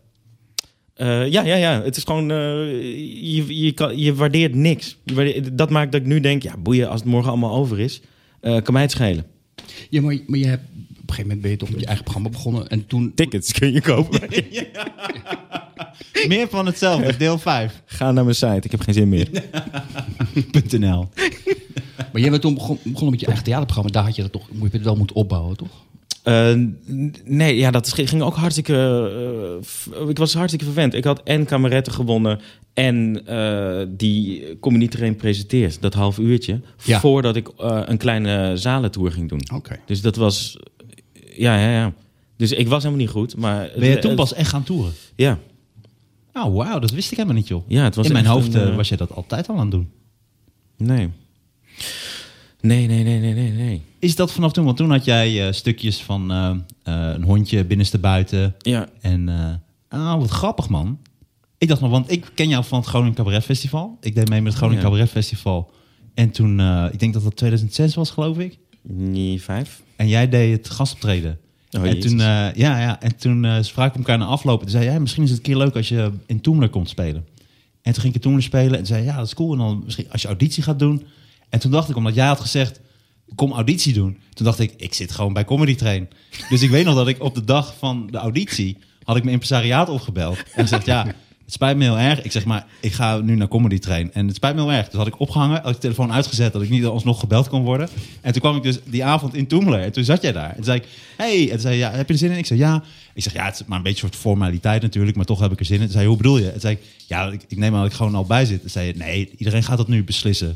S2: Eh, ja, ja, ja. Het is gewoon, eh, je, je, kan, je waardeert niks. Je waardeert- dat maakt dat ik nu denk, ja, boeien, als het morgen allemaal over is, eh, kan mij het schelen.
S4: ja, maar, maar je hebt, op een gegeven moment ben je toch met je eigen programma begonnen en toen...
S2: Tickets kun je kopen.
S3: Meer van hetzelfde. Deel 5.
S2: Ga naar mijn site, ik heb geen zin meer.
S3: .nl.
S4: Maar jij bent toen begon- begonnen met je eigen theaterprogramma, daar had je dat toch, moet je het wel moeten opbouwen, toch?
S2: Eh, n- nee, ja, dat ging ging ook hartstikke. eh, f- ik was hartstikke verwend. Ik had en kameretten gewonnen. En eh, die comedy train presenteert, dat half uurtje.
S4: Ja. Oh.
S2: Voordat ik eh, een kleine zalentour ging doen.
S4: Oké.
S2: Dus dat was. Ja, ja, ja. Dus ik was helemaal niet goed. Maar
S3: Ben je
S2: het-
S3: toen
S2: het-
S3: pas echt gaan toeren?
S2: Ja.
S3: Oh, wauw, dat wist ik helemaal niet, joh.
S2: Ja, het was
S3: In mijn
S2: echt
S3: hoofd
S2: een,
S3: eh,
S2: eh,
S3: was je dat altijd al aan het doen.
S2: Nee. Nee, nee, nee, nee, nee, nee.
S3: Is dat vanaf toen? Want toen had jij eh, stukjes van eh, eh, een hondje binnenste buiten.
S2: Ja.
S3: En, eh ah, wat grappig, man. Ik dacht nog, want ik ken jou van het Groningen Cabaret Festival. Ik deed mee met het Groningen
S2: Ja.
S3: Cabaret Festival. En toen, eh, ik denk dat dat 2006 was, geloof ik.
S2: Nee, vijf.
S3: En jij deed het gastoptreden.
S2: Oh,
S3: en
S2: jezus.
S3: toen, eh, ja, ja, en toen eh, spraken we elkaar na aflopen. Toen zei jij, misschien is het een keer leuk als je in Toemler komt spelen. En toen ging ik in Toemler spelen en toen zei hij, ja, dat is cool. En dan misschien als je auditie gaat doen. En toen dacht ik, omdat jij had gezegd, kom auditie doen. Toen dacht ik, ik zit gewoon bij Comedy Train. Dus ik weet nog dat ik op de dag van de auditie, had ik mijn impresariaat opgebeld. En gezegd, ja, het spijt me heel erg. Ik zeg maar, ik ga nu naar Comedy Train. En het spijt me heel erg. Dus had ik opgehangen, had ik de telefoon uitgezet, dat ik niet alsnog gebeld kon worden. En toen kwam ik dus die avond in Toemler. En toen zat jij daar. En toen zei ik, hey. En toen zei je, ja, heb je er zin in? Ik zei, ja. Ik zeg, ja, het is maar een beetje een soort formaliteit natuurlijk, maar toch heb ik er zin in. Toen zei je, hoe bedoel je? En toen zei ik, ja, ik, ik neem aan dat ik gewoon al bij zit. Toen zei je, nee, iedereen gaat dat nu beslissen.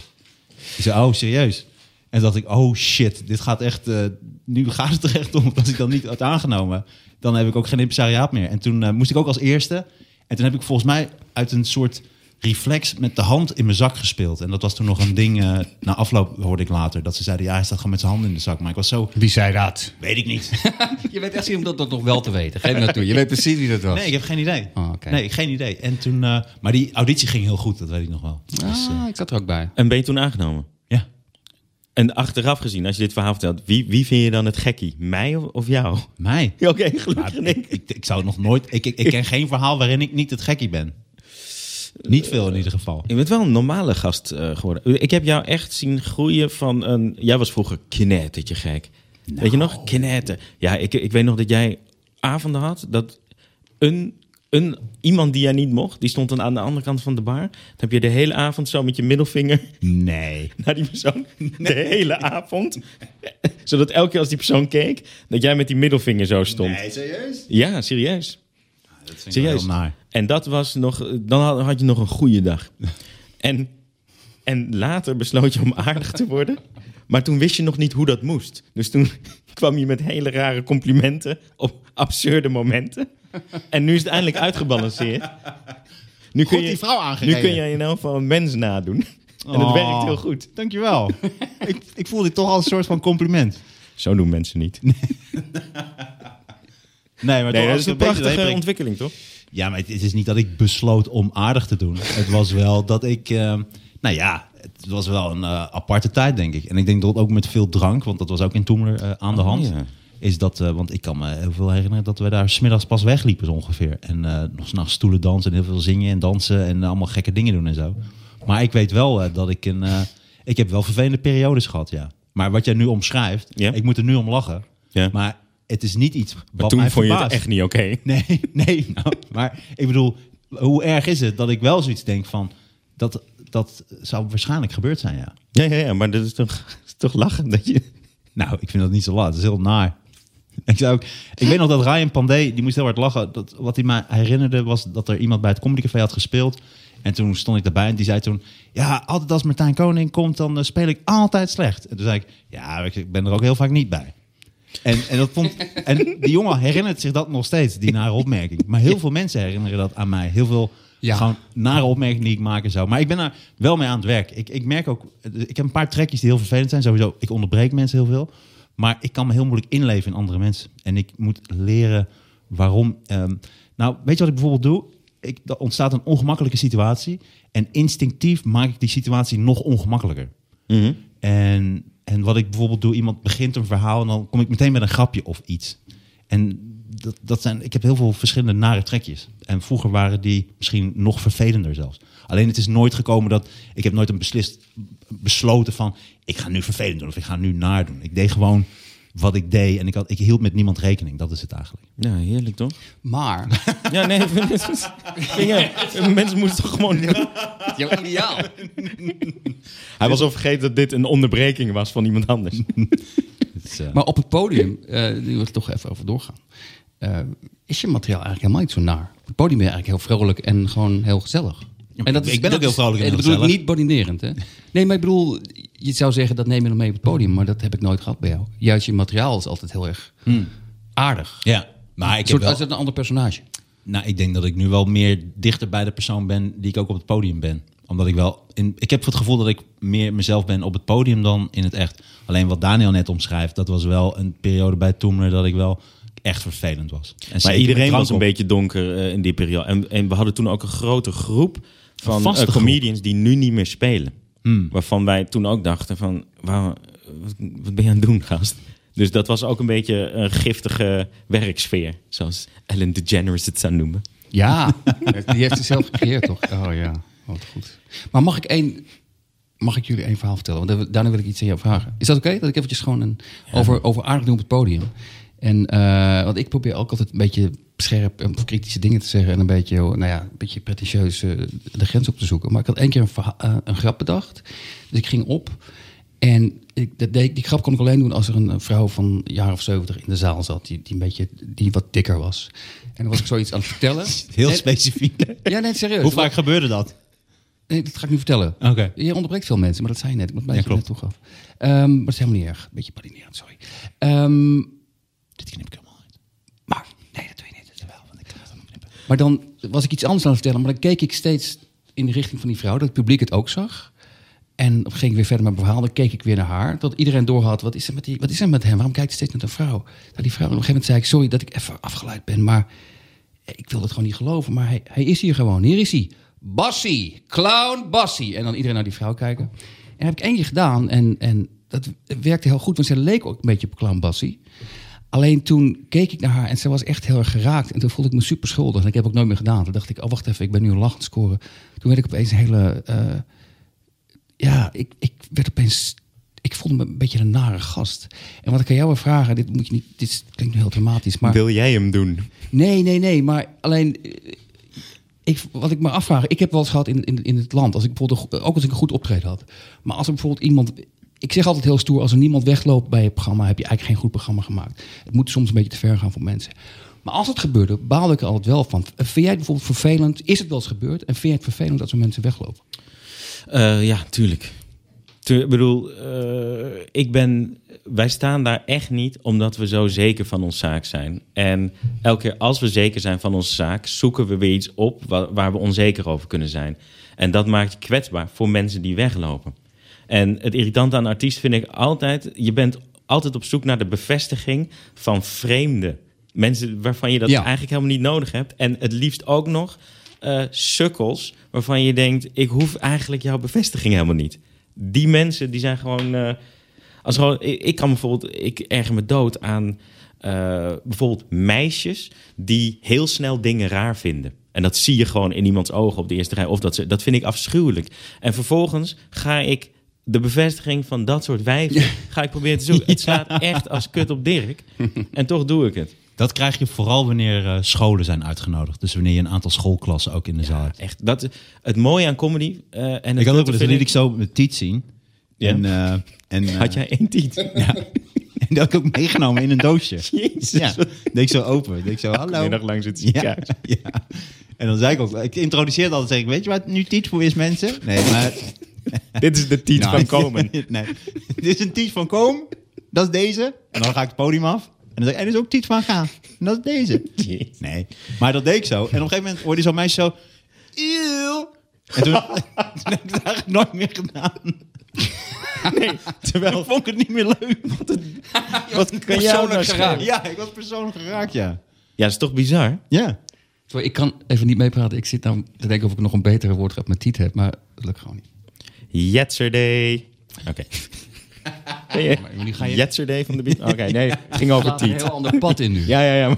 S3: Ik zei, oh, serieus? En toen dacht ik, oh shit, dit gaat echt, eh, nu gaat het er echt om. Want als ik dan niet had aangenomen, dan heb ik ook geen impresariaat meer. En toen eh, moest ik ook als eerste. En toen heb ik volgens mij uit een soort reflex met de hand in mijn zak gespeeld. En dat was toen nog een ding. eh, na afloop hoorde ik later dat ze zeiden: ja, hij staat gewoon met zijn handen in de zak. Maar ik was zo.
S4: Wie zei dat?
S3: Weet ik niet.
S4: Je weet echt niet om dat, dat nog wel te weten. Geef me dat toe. Je weet precies wie dat was.
S3: Nee, ik heb geen idee.
S4: Oh, oké.
S3: Nee, geen idee. En toen, eh, maar die auditie ging heel goed, dat weet ik nog wel. Dus, eh,
S4: Ah, ik zat er ook bij.
S2: En ben je toen aangenomen?
S3: ja.
S2: En achteraf gezien, als je dit verhaal vertelt, wie, wie vind je dan het gekkie? Mij of, of jou?
S3: Mij.
S2: Ja, Oké, gelukkig
S3: Maar
S2: nee.
S3: ik, ik, ik zou nog nooit. Ik, ik, ik ken geen verhaal waarin ik niet het gekkie ben. Niet veel in ieder geval.
S2: Je bent wel een normale gast eh, geworden. Ik heb jou echt zien groeien van een... Jij was vroeger knettertje gek. Weet je nog? Knetter. Ja, ik, ik weet nog dat jij avonden had dat een, een, iemand die jij niet mocht... die stond dan aan de andere kant van de bar. Dan heb je de hele avond zo met je middelvinger
S3: Nee.
S2: naar die persoon. De hele avond. Zodat elke keer als die persoon keek, dat jij met die middelvinger zo stond.
S3: serieus?
S2: Ja, serieus.
S3: Dat vind ik wel
S2: Serieus.
S3: heel naar.
S2: En dat was nog, dan had, had je nog een goede dag. En, en later besloot je om aardig te worden. Maar toen wist je nog niet hoe dat moest. Dus toen kwam je met hele rare complimenten op absurde momenten. En nu is het eindelijk uitgebalanceerd. Nu kun,
S3: Goed die vrouw
S2: nu
S3: aangereden.
S2: kun je in elk geval een mens nadoen. En dat
S3: Oh.
S2: werkt heel goed.
S3: Dankjewel. ik, ik voel dit toch als een soort van compliment.
S2: Zo doen mensen niet.
S3: Nee,
S2: Nee,
S3: maar toch
S2: dat
S3: als
S2: is
S3: ik
S2: een
S3: beetje
S2: prachtige
S3: dweperig-
S2: ontwikkeling, toch?
S3: Ja, maar het, het is niet dat ik besloot om aardig te doen. Het was wel dat ik... eh, nou ja, het was wel een eh, aparte tijd, denk ik. En ik denk dat ook met veel drank, want dat was ook in Toemler eh, aan de
S2: Oh,
S3: hand...
S2: ja.
S3: Is dat, eh, want ik kan me heel veel herinneren dat we daar smiddags pas wegliepen zo ongeveer. En eh, nog s'nachts stoelen dansen en heel veel zingen en dansen en allemaal gekke dingen doen en zo. Maar ik weet wel eh, dat ik een... eh, ik heb wel vervelende periodes gehad, ja. Maar wat jij nu omschrijft,
S2: Ja.
S3: ik moet er nu om lachen.
S2: Ja.
S3: Maar het is niet iets wat
S2: Maar toen
S3: mij
S2: vond je het
S3: verbaast.
S2: echt niet oké.
S3: Nee, nee. Nou, maar ik bedoel, hoe erg is het dat ik wel zoiets denk van... Dat, dat zou waarschijnlijk gebeurd zijn, ja.
S2: Ja, ja, ja, maar dat is toch, is toch lachen dat je...
S3: Nou, ik vind dat niet zo laat. Dat is heel naar. Ik, zou ook, ik weet nog dat Ryan Pandey, die moest heel hard lachen. Dat, wat hij mij herinnerde was dat er iemand bij het comedycafé had gespeeld. En toen stond ik daarbij en die zei toen... Ja, altijd als Martijn Koning komt, dan eh, speel ik altijd slecht. En toen zei ik, ja, ik- ik ben er ook heel vaak niet bij. En, en, dat vond, en die jongen herinnert zich dat nog steeds, die nare opmerking. Maar heel veel mensen herinneren dat aan mij. Heel veel
S4: Ja.
S3: gewoon nare opmerkingen die ik maak en zo. Maar ik ben daar wel mee aan het werk. Ik, ik merk ook, ik heb een paar trekjes die heel vervelend zijn. Sowieso, ik onderbreek mensen heel veel. Maar ik kan me heel moeilijk inleven in andere mensen. En ik moet leren waarom. ehm, nou, weet je wat ik bijvoorbeeld doe? Ik, er ontstaat een ongemakkelijke situatie. En instinctief maak ik die situatie nog ongemakkelijker. En, en wat ik bijvoorbeeld doe, iemand begint een verhaal en dan kom ik meteen met een grapje of iets. En dat, dat zijn, ik heb heel veel verschillende nare trekjes. En vroeger waren die misschien nog vervelender zelfs. Alleen het is nooit gekomen dat, ik heb nooit een beslist, besloten van, ik ga nu vervelend doen of ik ga nu naar doen. Ik deed gewoon wat ik deed en ik, had, ik hield met niemand rekening. Dat is het eigenlijk.
S2: Ja, heerlijk toch?
S4: Maar,
S2: Ja, nee. dingen, mensen moesten toch gewoon...
S4: jouw ideaal.
S2: Hij was al vergeten dat dit een onderbreking was van iemand anders.
S3: Het is, eh,
S4: Maar op het podium, eh nu wil ik toch even over doorgaan. Eh, is je materiaal eigenlijk helemaal niet zo naar? Op het podium ben je eigenlijk heel vrolijk en gewoon heel gezellig.
S3: maar
S4: en
S3: ik- ik ben ook heel vrolijk en
S4: dat
S3: heel
S4: bedoel ik niet bodinerend, hè? Nee, maar ik bedoel, je zou zeggen dat neem je nog mee op het podium, maar dat heb ik nooit gehad bij jou. Juist je materiaal is altijd heel erg aardig.
S3: ja, maar ik
S4: Een
S3: heb
S4: soort,
S3: wel-
S4: als het een ander personage.
S3: Nou, ik denk dat ik nu wel meer dichter bij de persoon ben die ik ook op het podium ben. Omdat ik wel. In, ik heb het gevoel dat ik meer mezelf ben op het podium dan in het echt. Alleen wat Daniel net omschrijft, dat was wel een periode bij Toemler dat ik wel echt vervelend was. En zeker
S2: Maar
S3: met
S2: iedereen
S3: drank
S2: was een
S3: op.
S2: beetje donker eh, in die periode. En, en we hadden toen ook een grote groep van
S3: Een vaste
S2: eh,
S3: groep. Hmm.
S2: comedians die nu niet meer spelen. Waarvan wij toen ook dachten van... Wauw, wat, wat ben je aan het doen, gast? Dus dat was ook een beetje een giftige werksfeer. Zoals Ellen DeGeneres het zou noemen.
S4: Ja, die heeft ze zelf gecreëerd, toch? Oh ja, wat goed. Maar mag ik één... Mag ik jullie één verhaal vertellen? Want daar- daarna wil ik iets aan jou vragen. Is dat oké? Dat ik eventjes gewoon een, over, over aardig doen op het podium. En, eh, want ik probeer ook altijd een beetje scherp en kritische dingen te zeggen. En een beetje, oh, nou ja, een beetje pretentieus eh, de grens op te zoeken. Maar ik had één keer een, verha- eh, een grap bedacht. Dus ik ging op. En ik, dat deed, die grap kon ik alleen doen als er een eh, vrouw van een jaar of zeventig in de zaal zat. Die, die, een beetje, die wat dikker was. En dan was ik zoiets aan het vertellen.
S3: Heel
S4: En-
S3: specifiek.
S4: Ja, nee, serieus.
S3: Hoe vaak gebeurde dat?
S4: Nee, dat ga ik nu vertellen.
S3: Oké.
S4: Je onderbreekt veel mensen, maar dat zei je net. Ik moet mij
S3: Ja,
S4: net toegaf. Ehm, maar dat is helemaal niet erg. Beetje padinerend, sorry. Ehm,
S3: Dit knip ik helemaal uit.
S4: maar, nee, dat doe je niet. Dat is wel, want ik kan het allemaal knippen. Maar dan was ik iets anders aan het vertellen. Maar dan keek ik steeds in de richting van die vrouw, dat het publiek het ook zag. En dan ging ik weer verder met mijn verhaal, dan keek ik weer naar haar. Tot iedereen doorhad, wat is er met, die, wat is er met hem? Waarom kijkt hij steeds naar de vrouw? Nou, die vrouw, en op een gegeven moment zei ik, sorry dat ik even afgeleid ben, maar ik wil het gewoon niet geloven. Maar hij, hij is hier gewoon, hier is hij. Bassie, clown Bassie. En dan iedereen naar die vrouw kijken. En dat heb ik één keer gedaan en, en dat werkte heel goed, want ze leek ook een beetje op clown Bassie. Alleen toen keek ik naar haar en ze was echt heel erg geraakt. En toen voelde ik me super schuldig. En ik heb het ook nooit meer gedaan. Toen dacht ik, oh wacht even, ik ben nu een lachend scoren. Toen werd ik opeens een hele... eh, ja, ik, ik werd opeens. Ik voelde me een beetje een nare gast. En wat ik aan jou wil vragen, dit moet je niet. Dit is- klinkt nu heel dramatisch, maar.
S2: Wil jij hem doen?
S4: Nee, nee, nee. Maar alleen. eh, Ik, wat ik me afvraag, ik heb wel eens gehad in, in, in het land. Als ik bijvoorbeeld een go- ook als ik een goed optreden had. Maar als er bijvoorbeeld iemand. Ik zeg altijd heel stoer, als er niemand wegloopt bij je programma, heb je eigenlijk geen goed programma gemaakt. Het moet soms een beetje te ver gaan voor mensen. Maar als het gebeurde, baalde ik er altijd wel van. Eh, Vind jij het bijvoorbeeld vervelend? Is het wel eens gebeurd? En vind jij het vervelend als er mensen weglopen?
S2: Eh, ja, tuurlijk. Tu- ik bedoel, eh, ik ben, wij staan daar echt niet omdat we zo zeker van onze zaak zijn. En elke keer als we zeker zijn van onze zaak, zoeken we weer iets op wa- waar, we onzeker over kunnen zijn. En dat maakt je kwetsbaar voor mensen die weglopen. En het irritante aan een artiest vind ik altijd, je bent altijd op zoek naar de bevestiging van vreemden. Mensen waarvan je dat
S4: Ja.
S2: eigenlijk helemaal niet nodig hebt. En het liefst ook nog eh, sukkels waarvan je denkt: ik hoef eigenlijk jouw bevestiging helemaal niet. Die mensen die zijn gewoon. eh, als gewoon ik, ik kan bijvoorbeeld, ik erger me dood aan eh, bijvoorbeeld meisjes die heel snel dingen raar vinden. En dat zie je gewoon in iemands ogen op de eerste rij. Of dat, ze, dat vind ik afschuwelijk. En vervolgens ga ik de bevestiging van dat soort wijven... ga ik proberen te zoeken. Het slaat echt als kut op Dirk. En toch doe ik het.
S3: Dat krijg je vooral wanneer eh, scholen zijn uitgenodigd. Dus wanneer je een aantal schoolklassen ook in de zaal hebt.
S2: Echt, dat, het mooie aan comedy... eh, en het
S3: Ik had
S2: kutte
S3: ook wel eens,
S2: vind
S3: liet ik zo mijn tiet zien.
S2: Ja.
S3: En, eh, en, eh,
S2: Had jij één tiet?
S3: en dat had ik ook meegenomen in een doosje.
S2: Jezus.
S3: Ja, deed ik zo open. Deed ik zo, hallo.
S2: Middag lang zit
S3: Ja, ja. En dan zei ik ook, ik introduceerde altijd, zeg ik, weet je wat nu tiet voor is, mensen? Nee, maar...
S2: Dit is de tiet
S3: Nou, nee. Dit is een tiet van Komen, dat is deze. En dan ga ik het podium af. En dan zeg ik, en dit is ook tiet van Gaan, en dat is deze. Nee, maar dat deed ik zo. En op een gegeven moment hoorde je zo'n meisje zo, eeuw. En toen, toen heb ik het eigenlijk nooit meer gedaan.
S2: Nee,
S3: Toen
S2: terwijl...
S3: vond ik het niet meer leuk.
S2: Wat kan jou nou schelen?
S3: Ja, ik was persoonlijk geraakt, ja.
S2: Ja, dat is toch bizar?
S3: Ja.
S4: Sorry, ik kan even niet meepraten. Ik zit nou te denken of ik nog een betere woordgrap met Tiet heb, maar dat lukt gewoon niet.
S2: Yesterday. Oké.
S4: Maar nu ga je
S2: Yesterday van de beat? Oké, nee. Het ging over
S4: slaat een
S2: tiet.
S4: heel ander pad in nu.
S2: Ja, ja, ja.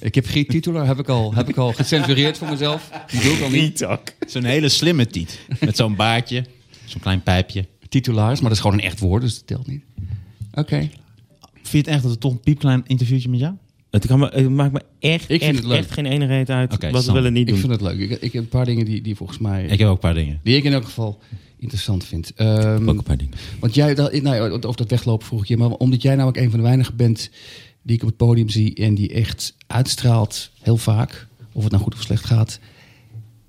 S4: Ik heb geen titulaar, heb ik al, heb ik al gecensureerd voor mezelf. Die doe ik al niet.
S2: Tiet ook.
S3: Zo'n hele slimme tiet. Met zo'n baardje, zo'n klein pijpje.
S4: Titulaars, maar dat is gewoon een echt woord, dus dat telt niet. Oké.
S3: Vind je het echt dat het toch een piepklein interviewtje met jou?
S2: Het, kan me, het maakt me echt,
S4: vind
S2: echt,
S4: het leuk.
S2: echt geen ene reet uit
S3: Oké,
S2: wat we
S3: Sam.
S2: willen niet
S4: Ik
S2: doen.
S4: vind het leuk. Ik, ik heb een paar dingen die, die volgens mij...
S3: Ik heb ook een paar dingen.
S4: Die ik in elk geval interessant vind. Ehm,
S2: paar dingen.
S4: want jij, dat, nou, ja, over dat weglopen vroeg ik je, maar omdat jij namelijk een van de weinigen bent die ik op het podium zie en die echt uitstraalt heel vaak, of het nou goed of slecht gaat,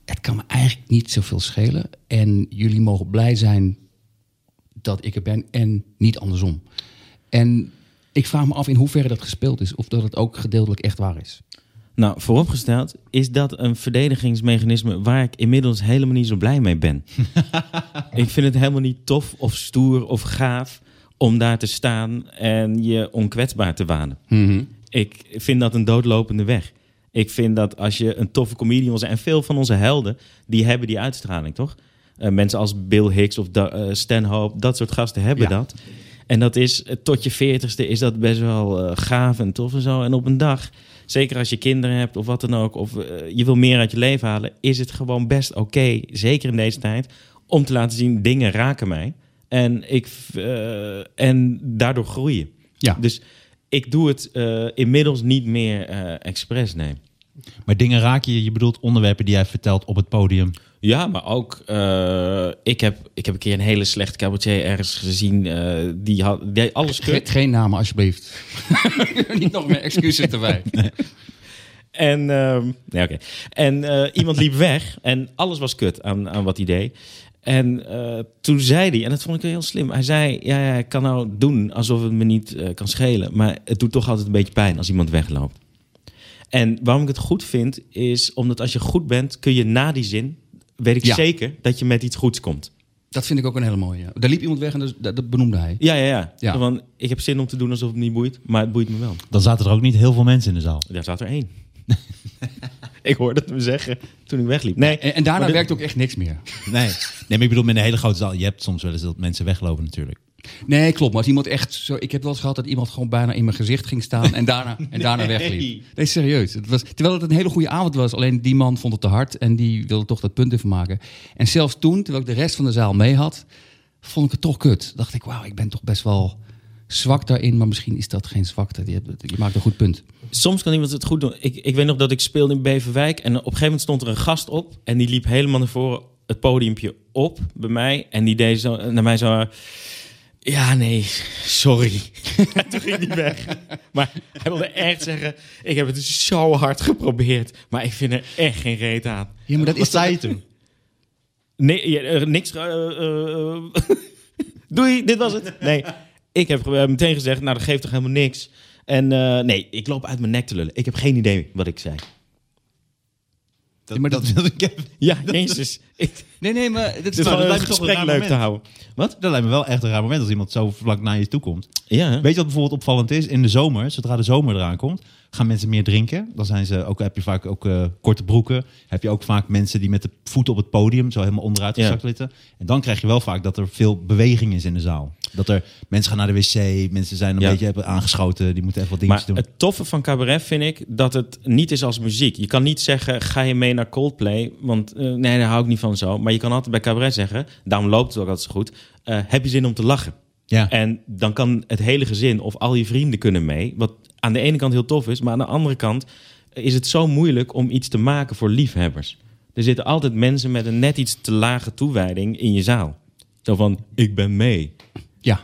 S4: het kan me eigenlijk niet zoveel schelen. En jullie mogen blij zijn dat ik er ben en niet andersom. En ik vraag me af in hoeverre dat gespeeld is, of dat het ook gedeeltelijk echt waar is.
S2: Nou, vooropgesteld is dat een verdedigingsmechanisme waar ik inmiddels helemaal niet zo blij mee ben. ik vind het helemaal niet tof of stoer of gaaf om daar te staan en je onkwetsbaar te wanen. Ik vind dat een doodlopende weg. Ik vind dat als je een toffe comedian wil zijn... en veel van onze helden, die hebben die uitstraling, toch? Eh, mensen als Bill Hicks of Da- eh, Stan Hope, dat soort gasten hebben
S4: Ja.
S2: dat. En dat is, eh, tot je veertigste is dat best wel eh, gaaf en tof en zo. En op een dag, zeker als je kinderen hebt of wat dan ook... of eh, je wil meer uit je leven halen... is het gewoon best oké, zeker in deze tijd... om te laten zien, dingen raken mij. En, ik, eh, en daardoor groeien.
S4: Ja.
S2: Dus ik doe het eh, inmiddels niet meer eh, expres, nee.
S3: Maar dingen raak je, je bedoelt onderwerpen die jij vertelt op het podium.
S2: Ja, maar ook, eh, ik, heb, ik heb een keer een hele slechte cabaretier ergens gezien. eh, die had die deed alles
S4: Ge-
S2: kut.
S4: geen namen alsjeblieft. niet nog meer excuses erbij.
S2: En, ehm, nee, oké. en eh, iemand liep weg en alles was kut aan, aan wat hij deed. En eh, toen zei hij, en dat vond ik heel slim. Hij zei, ja, ja, ik kan nou doen alsof het me niet eh, kan schelen. Maar het doet toch altijd een beetje pijn als iemand wegloopt. En waarom ik het goed vind, is omdat als je goed bent, kun je na die zin weet ik
S4: Ja.
S2: zeker dat je met iets goeds komt.
S4: Dat vind ik ook een hele mooie. Ja. Daar liep iemand weg en dus, dat, dat- dat benoemde hij.
S2: Ja, ja, ja.
S4: Ja.
S2: Want ik heb zin om te doen alsof het niet boeit, maar het boeit me wel.
S3: Dan zaten er ook niet heel veel mensen in de zaal.
S2: Daar zat er één. ik hoorde het hem zeggen toen ik wegliep. Nee,
S4: En, en daarna
S2: maar dit-
S4: werkt ook echt niks meer.
S3: Nee. nee, maar ik bedoel, met een hele grote zaal. Je hebt soms wel eens dat mensen weglopen natuurlijk.
S4: Nee, klopt. Maar als iemand echt zo... Ik heb wel eens gehad dat iemand gewoon bijna in mijn gezicht ging staan en daarna, en daarna wegliep. Nee, serieus. Het was, terwijl het een hele goede avond was. Alleen die man vond het te hard en die wilde toch dat punt even maken. En zelfs toen, terwijl ik de rest van de zaal mee had, vond ik het toch kut. Dacht ik, wauw, ik ben toch best wel zwak daarin. Maar misschien is dat geen zwakte. Je, hebt- je maakt een goed punt.
S2: Soms kan iemand het goed doen. Ik, ik weet nog dat ik speelde in Beverwijk. En op een gegeven moment stond er een gast op. En die liep helemaal naar voren het podiumpje op bij mij. En die deed zo, naar mij zo... Ja, nee, sorry. En toen ging die weg. Maar hij wilde echt zeggen... Ik heb het zo hard geprobeerd. Maar ik vind er echt geen reet aan.
S4: Ja, maar dat is
S3: zei je toen?
S2: Nee, ja, eh, niks... eh, eh, eh, doei, dit was het. Nee, ik heb eh, meteen gezegd... Nou, dat geeft toch helemaal niks. En eh, nee, ik loop uit mijn nek te lullen. Ik heb geen idee wat ik zei.
S3: Dat,
S4: Ja, maar dat-
S3: wilde ik even.
S2: Ja, jezus. Ik,
S4: Nee, nee, maar dit
S2: het is gewoon
S3: dat
S2: een
S3: lijkt me toch een
S2: gesprek
S3: raar
S2: leuk te
S3: moment.
S2: houden. Wat?
S3: Dat lijkt me wel echt een raar moment als iemand zo vlak naar je toe komt.
S2: Ja.
S3: Weet je wat bijvoorbeeld opvallend is? In de zomer, zodra de zomer eraan komt, gaan mensen meer drinken. Dan zijn ze ook, heb je vaak ook eh, korte broeken. Heb je ook vaak mensen die met de voeten op het podium zo helemaal onderuit
S2: Ja.
S3: gezakt zitten. En dan krijg je wel vaak dat er veel beweging is in de zaal. Dat er mensen gaan naar de wc, mensen zijn een
S2: Ja.
S3: beetje hebben aangeschoten, die moeten even wat
S2: Maar
S3: dingetjes doen.
S2: het toffe van cabaret vind ik dat het niet is als muziek. Je kan niet zeggen, ga je mee naar Coldplay? Want eh, nee, daar hou ik niet van zo. Maar je kan altijd bij cabaret zeggen, daarom loopt het ook altijd zo goed. eh, heb je zin om te lachen?
S3: ja.
S2: En dan kan het hele gezin of al je vrienden kunnen mee. Wat aan de ene kant heel tof is, maar aan de andere kant is het zo moeilijk om iets te maken voor liefhebbers. Er zitten altijd mensen met een net iets te lage toewijding in je zaal. Zo van, ik ben mee.
S4: Ja,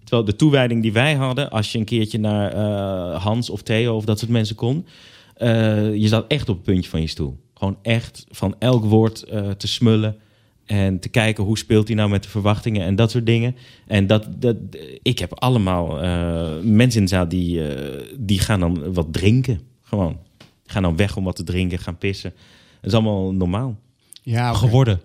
S2: Terwijl de toewijding die wij hadden, als je een keertje naar eh, Hans of Theo of dat soort mensen kon, eh, je zat echt op het puntje van je stoel. Gewoon echt van elk woord eh, te smullen en te kijken hoe speelt hij nou met de verwachtingen en dat soort dingen. En dat, dat, ik heb allemaal eh, mensen in de zaal die, eh, die gaan dan wat drinken. Gewoon. Die gaan dan weg om wat te drinken, gaan pissen. Dat is allemaal normaal.
S4: ja oké.
S3: geworden.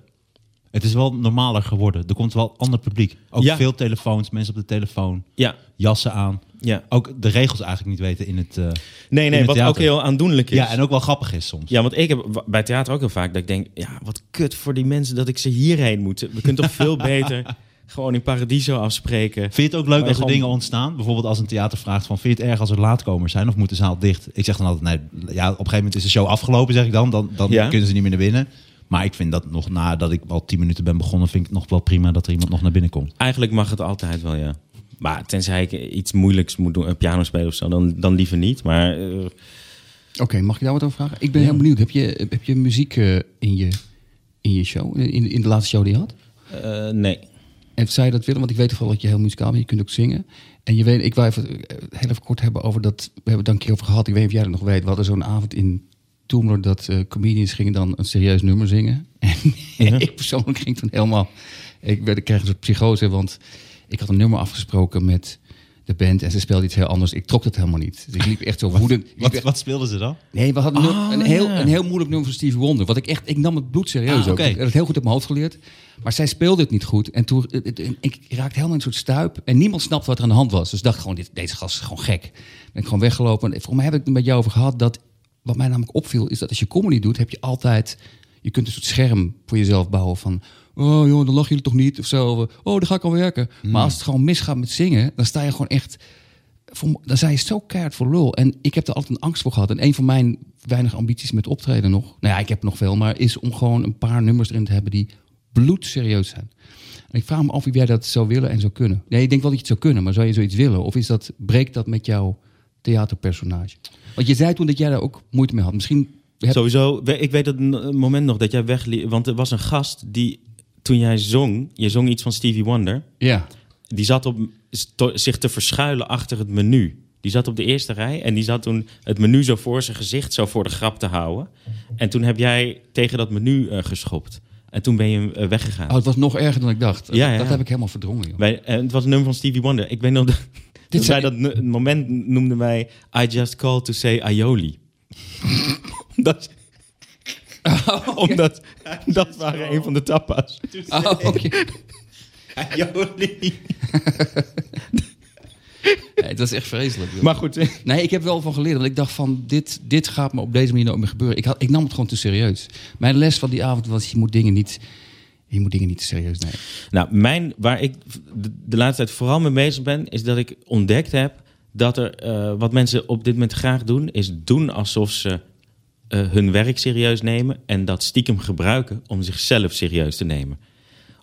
S3: Het is wel normaler geworden. Er komt wel ander publiek. Ook
S2: Ja.
S3: veel telefoons, mensen op de telefoon,
S2: Ja,
S3: jassen aan.
S2: ja.
S3: Ook de regels eigenlijk niet weten in het. eh,
S2: Nee, nee,
S3: het
S2: wat ook
S3: theater.
S2: heel aandoenlijk is.
S3: ja, en ook wel grappig is soms.
S2: Ja, want ik heb wa- bij theater ook heel vaak dat ik denk... ja, wat kut voor die mensen dat ik ze hierheen moet. We kunnen toch veel beter gewoon in Paradiso afspreken.
S3: Vind je het ook leuk
S2: Maar
S3: als er
S2: gewoon-
S3: dingen ontstaan? Bijvoorbeeld als een theater vraagt van... vind je het erg als er laatkomers zijn of moet de zaal dicht? Ik zeg dan altijd, nee, ja, op een gegeven moment is de show afgelopen, zeg ik dan. Dan, dan
S2: Ja.
S3: kunnen ze niet meer naar binnen. Maar ik vind dat nog nadat ik al tien minuten ben begonnen... vind ik het nog wel prima dat er iemand nog naar binnen komt.
S2: Eigenlijk mag het altijd wel, ja. Maar tenzij ik iets moeilijks moet doen, een piano spelen of zo, dan, dan liever niet. Maar eh,
S4: Oké, mag ik daar wat over vragen? Ik ben heel benieuwd. Heb je, heb je muziek eh, in, je, in je show? In, in de laatste show die je had?
S2: eh, nee.
S4: En zei je dat willen? Want ik weet toch wel dat je heel muzikaal bent. Je kunt ook zingen. En je weet, ik wil even, eh, heel even kort hebben over dat. We hebben het daar een keer over gehad. Ik weet niet of jij dat nog weet. We hadden zo'n avond in Toemler dat eh, comedians gingen dan een serieus nummer zingen. En ik persoonlijk ging toen helemaal. Ik, werd, ik kreeg een soort psychose, want ik had een nummer afgesproken met de band en ze speelden iets heel anders. Ik trok dat helemaal niet. Dus ik liep echt zo woedend. Ik liep
S3: Wat,
S4: echt-
S3: wat speelden ze dan?
S4: Nee, we hadden een
S2: Ah,
S3: Oh,
S4: nummer- een, heel,
S2: ja.
S4: een heel moeilijk nummer van Stevie Wonder. Wat ik echt, ik nam het bloed serieus
S3: Ah,
S4: ook.
S3: oké.
S4: Ik heb het heel goed op mijn hoofd geleerd. Maar zij speelde het niet goed. En toen, het- het- en ik raakte helemaal in een soort stuip. En niemand snapte wat er aan de hand was. Dus ik dacht gewoon, dit, deze gast is gewoon gek. Ben ik gewoon weggelopen. En volgens mij heb ik het met jou over gehad. Dat, wat mij namelijk opviel, is dat als je comedy doet, heb je altijd... Je kunt een soort scherm voor jezelf bouwen van... Oh joh, dan lachen jullie toch niet? Of zo. Of, Oh, daar ga ik al werken.
S3: Hmm.
S4: Maar als het gewoon misgaat met zingen, dan sta je gewoon echt voor, m- dan zei je zo keihard voor lul. En ik heb er altijd een angst voor gehad. En een van mijn weinige ambities met optreden nog... Nou ja, ik heb nog veel, maar is om gewoon een paar nummers erin te hebben... die bloedserieus zijn. En ik vraag me af of jij dat zou willen en zou kunnen. Nee, ik denk wel dat je het zou kunnen, maar zou je zoiets willen? Of is dat, breekt dat met jouw theaterpersonage? Want je zei toen dat jij daar ook moeite mee had. Misschien... heb-
S2: Sowieso, we- ik weet dat n- een moment nog dat jij wegliep. Want er was een gast die, toen jij zong, je zong iets van Stevie Wonder.
S4: Ja.
S2: Die zat op, sto- zich te verschuilen achter het menu. Die zat op de eerste rij en die zat toen het menu zo voor zijn gezicht, zo voor de grap te houden. En toen heb jij tegen dat menu eh, geschopt. En toen ben je eh, weggegaan.
S4: Oh, het was nog erger dan ik dacht.
S2: Ja, ja,
S4: Dat
S2: ja.
S4: heb ik helemaal verdrongen, joh.
S2: Wij, en het was een nummer van Stevie Wonder. Ik weet nog dat, dat
S4: Dit
S2: wij
S4: zijn-
S2: dat nu- moment noemden wij I just called to say aioli. dat,
S4: Oké.
S5: Oh,
S4: Omdat dat waren een van de tapas.
S5: Oh, oké.
S2: Jolie.
S5: Nee, dat is echt vreselijk. joh.
S4: Maar
S2: eh.
S4: goed,
S5: Nee, ik heb wel van geleerd. Want ik dacht van, dit, dit gaat me op deze manier nooit meer gebeuren. Ik, had, ik nam het gewoon te serieus. Mijn les van die avond was, je moet dingen niet, je moet dingen niet te serieus nemen.
S2: Nou, mijn, waar ik de, de laatste tijd vooral mee bezig ben, is dat ik ontdekt heb dat er eh, wat mensen op dit moment graag doen, is doen alsof ze eh, hun werk serieus nemen en dat stiekem gebruiken om zichzelf serieus te nemen.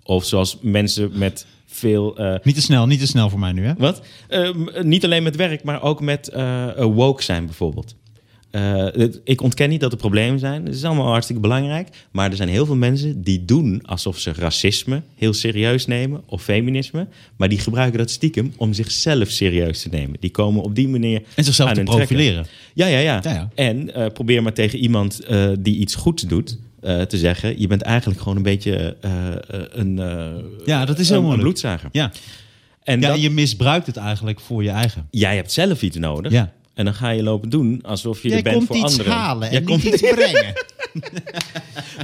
S2: Of zoals mensen met veel. eh,
S3: Niet te snel, niet te snel voor mij nu, hè?
S2: wat? Eh, m- niet alleen met werk, maar ook met eh, eh, woke zijn bijvoorbeeld. Eh, het- ik ontken niet dat er problemen zijn. Het is allemaal hartstikke belangrijk. Maar er zijn heel veel mensen die doen alsof ze racisme heel serieus nemen of feminisme. Maar die gebruiken dat stiekem om zichzelf serieus te nemen. Die komen op die manier.
S3: En zichzelf
S2: aan
S3: te
S2: hun trekken.
S3: profileren.
S2: Ja, ja, ja.
S3: Ja, ja.
S2: En eh, probeer maar tegen iemand eh, die iets goeds doet eh, te zeggen: Je bent eigenlijk gewoon een beetje eh, eh, een, eh,
S3: Ja, dat is
S2: een,
S3: heel
S2: een
S3: moeilijk.
S2: bloedzager.
S3: Ja,
S2: En
S3: ja
S2: dat-
S3: je misbruikt het eigenlijk voor je eigen.
S2: jij hebt zelf iets nodig.
S3: Ja.
S2: En dan ga je lopen doen alsof je er bent voor anderen. Jij
S3: niet
S2: komt-
S3: iets brengen.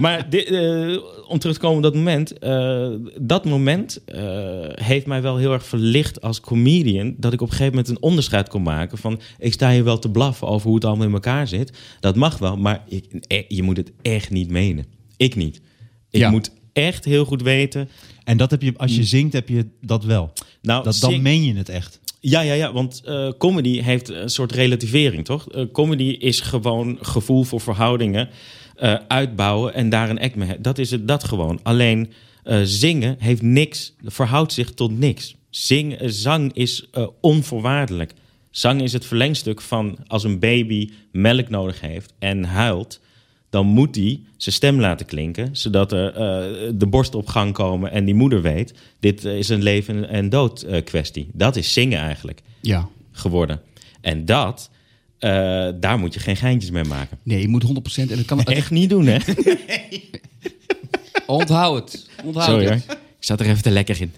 S2: Maar di- eh, om terug te komen op dat moment. eh, dat moment eh, heeft mij wel heel erg verlicht als comedian. Dat ik op een gegeven moment een onderscheid kon maken. Van ik sta hier wel te blaffen over hoe het allemaal in elkaar zit. Dat mag wel, maar ik, eh, je moet het echt niet menen. Ik niet. Ik
S5: Ja.
S2: moet echt heel goed weten.
S3: En dat heb je, als je zingt, heb je dat wel.
S2: Mm. Nou,
S3: Dat, dan
S2: zing-
S3: meen je het echt.
S2: Ja, ja, ja, want eh, comedy heeft een soort relativering, toch? Eh, comedy is gewoon gevoel voor verhoudingen, eh, uitbouwen en daar een act mee. he- Dat is het, dat gewoon. Alleen eh, zingen heeft niks, verhoudt zich tot niks. Zing, eh, zang is eh, onvoorwaardelijk. Zang is het verlengstuk van als een baby melk nodig heeft en huilt, dan moet hij zijn stem laten klinken, zodat er, eh, de borst op gang komen en die moeder weet, dit eh, is een leven en dood eh, kwestie. Dat is zingen eigenlijk
S5: Ja.
S2: geworden. En dat, eh, daar moet je geen geintjes mee maken.
S5: Nee, je moet 100% en dat kan...
S2: Echt niet doen, hè?
S5: Onthoud het. Onthoud
S2: Sorry hoor.
S5: het.
S2: Ik zat er even te lekker in.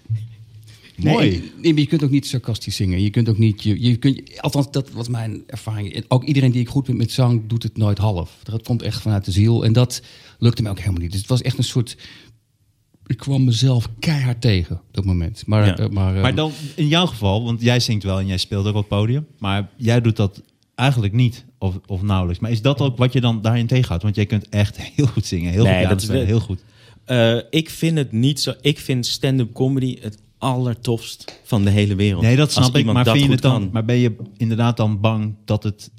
S5: Nee,
S3: Mooi.
S5: nee, maar je kunt ook niet sarcastisch zingen. Je kunt ook niet. Je, je kunt, althans, dat was mijn ervaring. Ook iedereen die ik goed ben met zang, doet het nooit half. Dat komt echt vanuit de ziel. En dat lukte mij ook helemaal niet. Dus het was echt een soort. Ik kwam mezelf keihard tegen op dat moment. Maar,
S2: Ja.
S5: eh, maar, eh,
S3: Maar dan, in jouw geval, want jij zingt wel en jij speelt ook op het podium. Maar jij doet dat eigenlijk niet, of, of nauwelijks. Maar is dat ook wat je dan daarin tegenhoudt? Want jij kunt echt heel goed zingen. Heel
S2: Nee,
S3: goed
S2: dat
S3: dat
S2: is
S3: spelen,
S2: de-
S3: heel goed.
S2: Eh, ik vind het niet zo. Ik vind stand-up comedy het allertofst van de hele wereld.
S3: Nee, dat
S2: Als
S3: snap ik.
S2: iemand
S3: Maar,
S2: dat
S3: vind je
S2: goed
S3: het dan,
S2: kan.
S3: maar ben je inderdaad dan bang dat het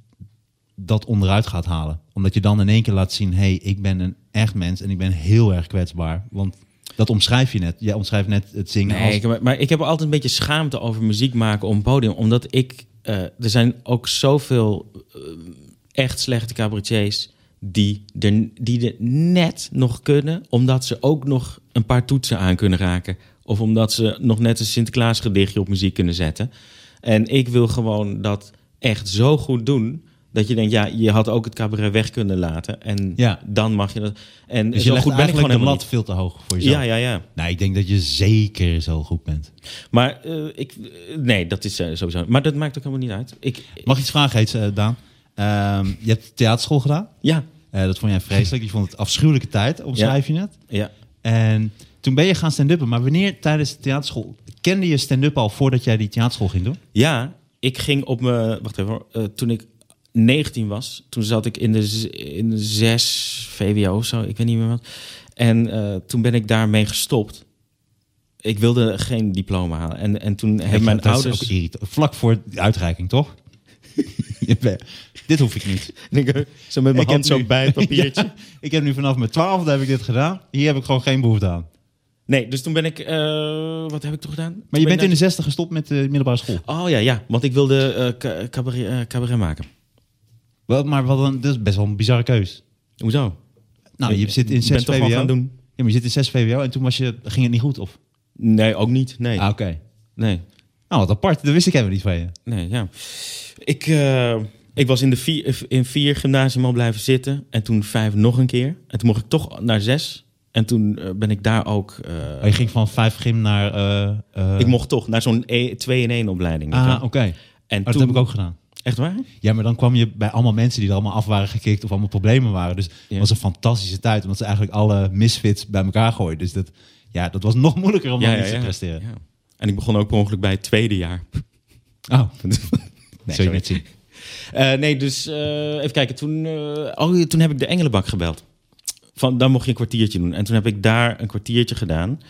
S3: dat onderuit gaat halen? Omdat je dan in één keer laat zien... hé, hey, ik ben een echt mens en ik ben heel erg kwetsbaar. Want dat omschrijf je net. Jij omschrijft net het zingen
S2: Nee,
S3: als...
S2: ik- maar, maar ik heb altijd een beetje schaamte over muziek maken op een podium. Omdat ik... eh, er zijn ook zoveel eh, echt slechte cabaretiers... Die er, die er net nog kunnen... omdat ze ook nog een paar toetsen aan kunnen raken. Of omdat ze nog net een Sinterklaas gedichtje op muziek kunnen zetten. En ik wil gewoon dat echt zo goed doen... dat je denkt, ja, je had ook het cabaret weg kunnen laten. En
S3: Ja.
S2: dan mag je dat... En
S3: dus
S2: zo
S3: je legt
S2: goed ben ik
S3: eigenlijk
S2: gewoon
S3: de
S2: helemaal
S3: lat
S2: niet.
S3: veel te hoog voor jezelf.
S2: Ja, ja, ja.
S3: Nee, ik denk dat je zeker zo goed bent.
S2: Maar eh, ik, eh, nee, dat is eh, sowieso. Maar dat maakt ook helemaal niet uit. Ik,
S3: Mag ik iets vragen, heet, eh, Daan? Ehm, je hebt theaterschool gedaan.
S2: ja,
S3: Eh, dat vond jij vreselijk. Je vond het afschuwelijke tijd, omschrijf je net.
S2: ja.
S3: En toen ben je gaan stand-uppen. Maar wanneer tijdens de theaterschool... Kende je stand-up al voordat jij die theaterschool ging doen?
S2: Ja, ik ging op mijn. Wacht even. hoor. Eh, toen ik 19 was, toen zat ik in de, z- in de 6 VWO of zo, ik weet niet meer wat. En eh, toen ben ik daarmee gestopt. Ik wilde geen diploma halen. En, en toen hebben mijn
S3: dat is
S2: ouders.
S3: ook irritant. Vlak voor de uitreiking, toch? Je bent- dit hoef ik niet.
S2: zo met
S3: Ik heb nu-
S2: bij het
S3: Ja, ik heb nu vanaf mijn twaalfde heb ik dit gedaan. Hier heb ik gewoon geen behoefte aan.
S2: Nee, dus toen ben ik. eh, wat heb ik toen gedaan?
S3: Maar
S2: Toen
S3: je
S2: ben ik
S3: bent in
S2: naar-
S3: de zestig gestopt met de middelbare school.
S2: Oh ja, ja. Want ik wilde eh, ca- cabaret, eh, cabaret maken.
S3: Wel, maar wat een, dat is best wel een bizarre keus.
S2: Hoezo?
S3: Nou, je
S2: Ik
S3: zit in
S2: ben
S3: 6
S2: toch wel
S3: VWO.
S2: gaan doen.
S3: Ja, maar je zit in 6 VWO en toen was je, ging het niet goed, of?
S2: Nee, ook niet. Nee.
S3: Ah, oké.
S2: Nee.
S3: Nou, wat apart. Dat wist ik helemaal niet van je.
S2: Nee, ja. Ik, eh, ik was in, de vier, in vier gymnasium al blijven zitten. En toen vijf nog een keer. En toen mocht ik toch naar zes. En toen eh, ben ik daar ook... eh,
S3: Oh, je ging van 5 gym naar... eh, eh,
S2: e, Ik mocht toch naar zo'n 2-in-1 opleiding. weet je
S3: Ah,
S2: wel.
S3: oké.
S2: En
S3: Oh, dat
S2: toen,
S3: heb ik ook gedaan.
S2: Echt waar? Oh,
S3: Ja, maar dan kwam je bij allemaal mensen die er allemaal af waren gekikt of allemaal problemen waren. Dus het
S2: Ja.
S3: was een fantastische tijd, omdat ze eigenlijk alle misfits bij elkaar gooiden. Dus dat, ja, dat was nog moeilijker om dan iets te presteren.
S2: Ja. En ik begon ook per ongeluk bij het tweede jaar.
S3: Oh, nee, zul je
S2: sorry.
S3: net zien.
S2: Eh, nee, dus eh, even kijken. Toen, eh, oh, ja, toen heb ik de Engelenbak gebeld. Van, dan mocht je een kwartiertje doen. En toen heb ik daar een kwartiertje gedaan.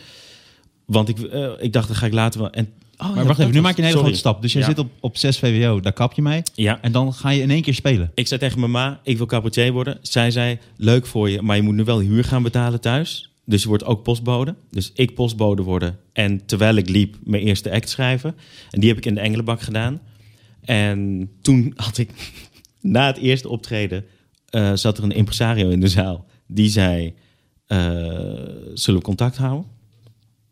S2: Want ik, eh, ik dacht, dat ga ik later wel. En, oh,
S3: Maar wacht even, nu maak je een hele grote stap. Dus jij
S2: Ja.
S3: zit op, op 6 VWO, daar kap je mee.
S2: Ja,
S3: En dan ga je in één keer spelen.
S2: ik zei tegen mijn ma, ik wil cabaretier worden. Zij zei, leuk voor je, maar je moet nu wel huur gaan betalen thuis. Dus je wordt ook postbode. Dus ik postbode worden. En terwijl ik liep, mijn eerste act schrijven. En die heb ik in de Engelenbak gedaan. En toen had ik, na het eerste optreden, eh, zat er een impresario in de zaal. Die zei, eh, zullen we contact houden?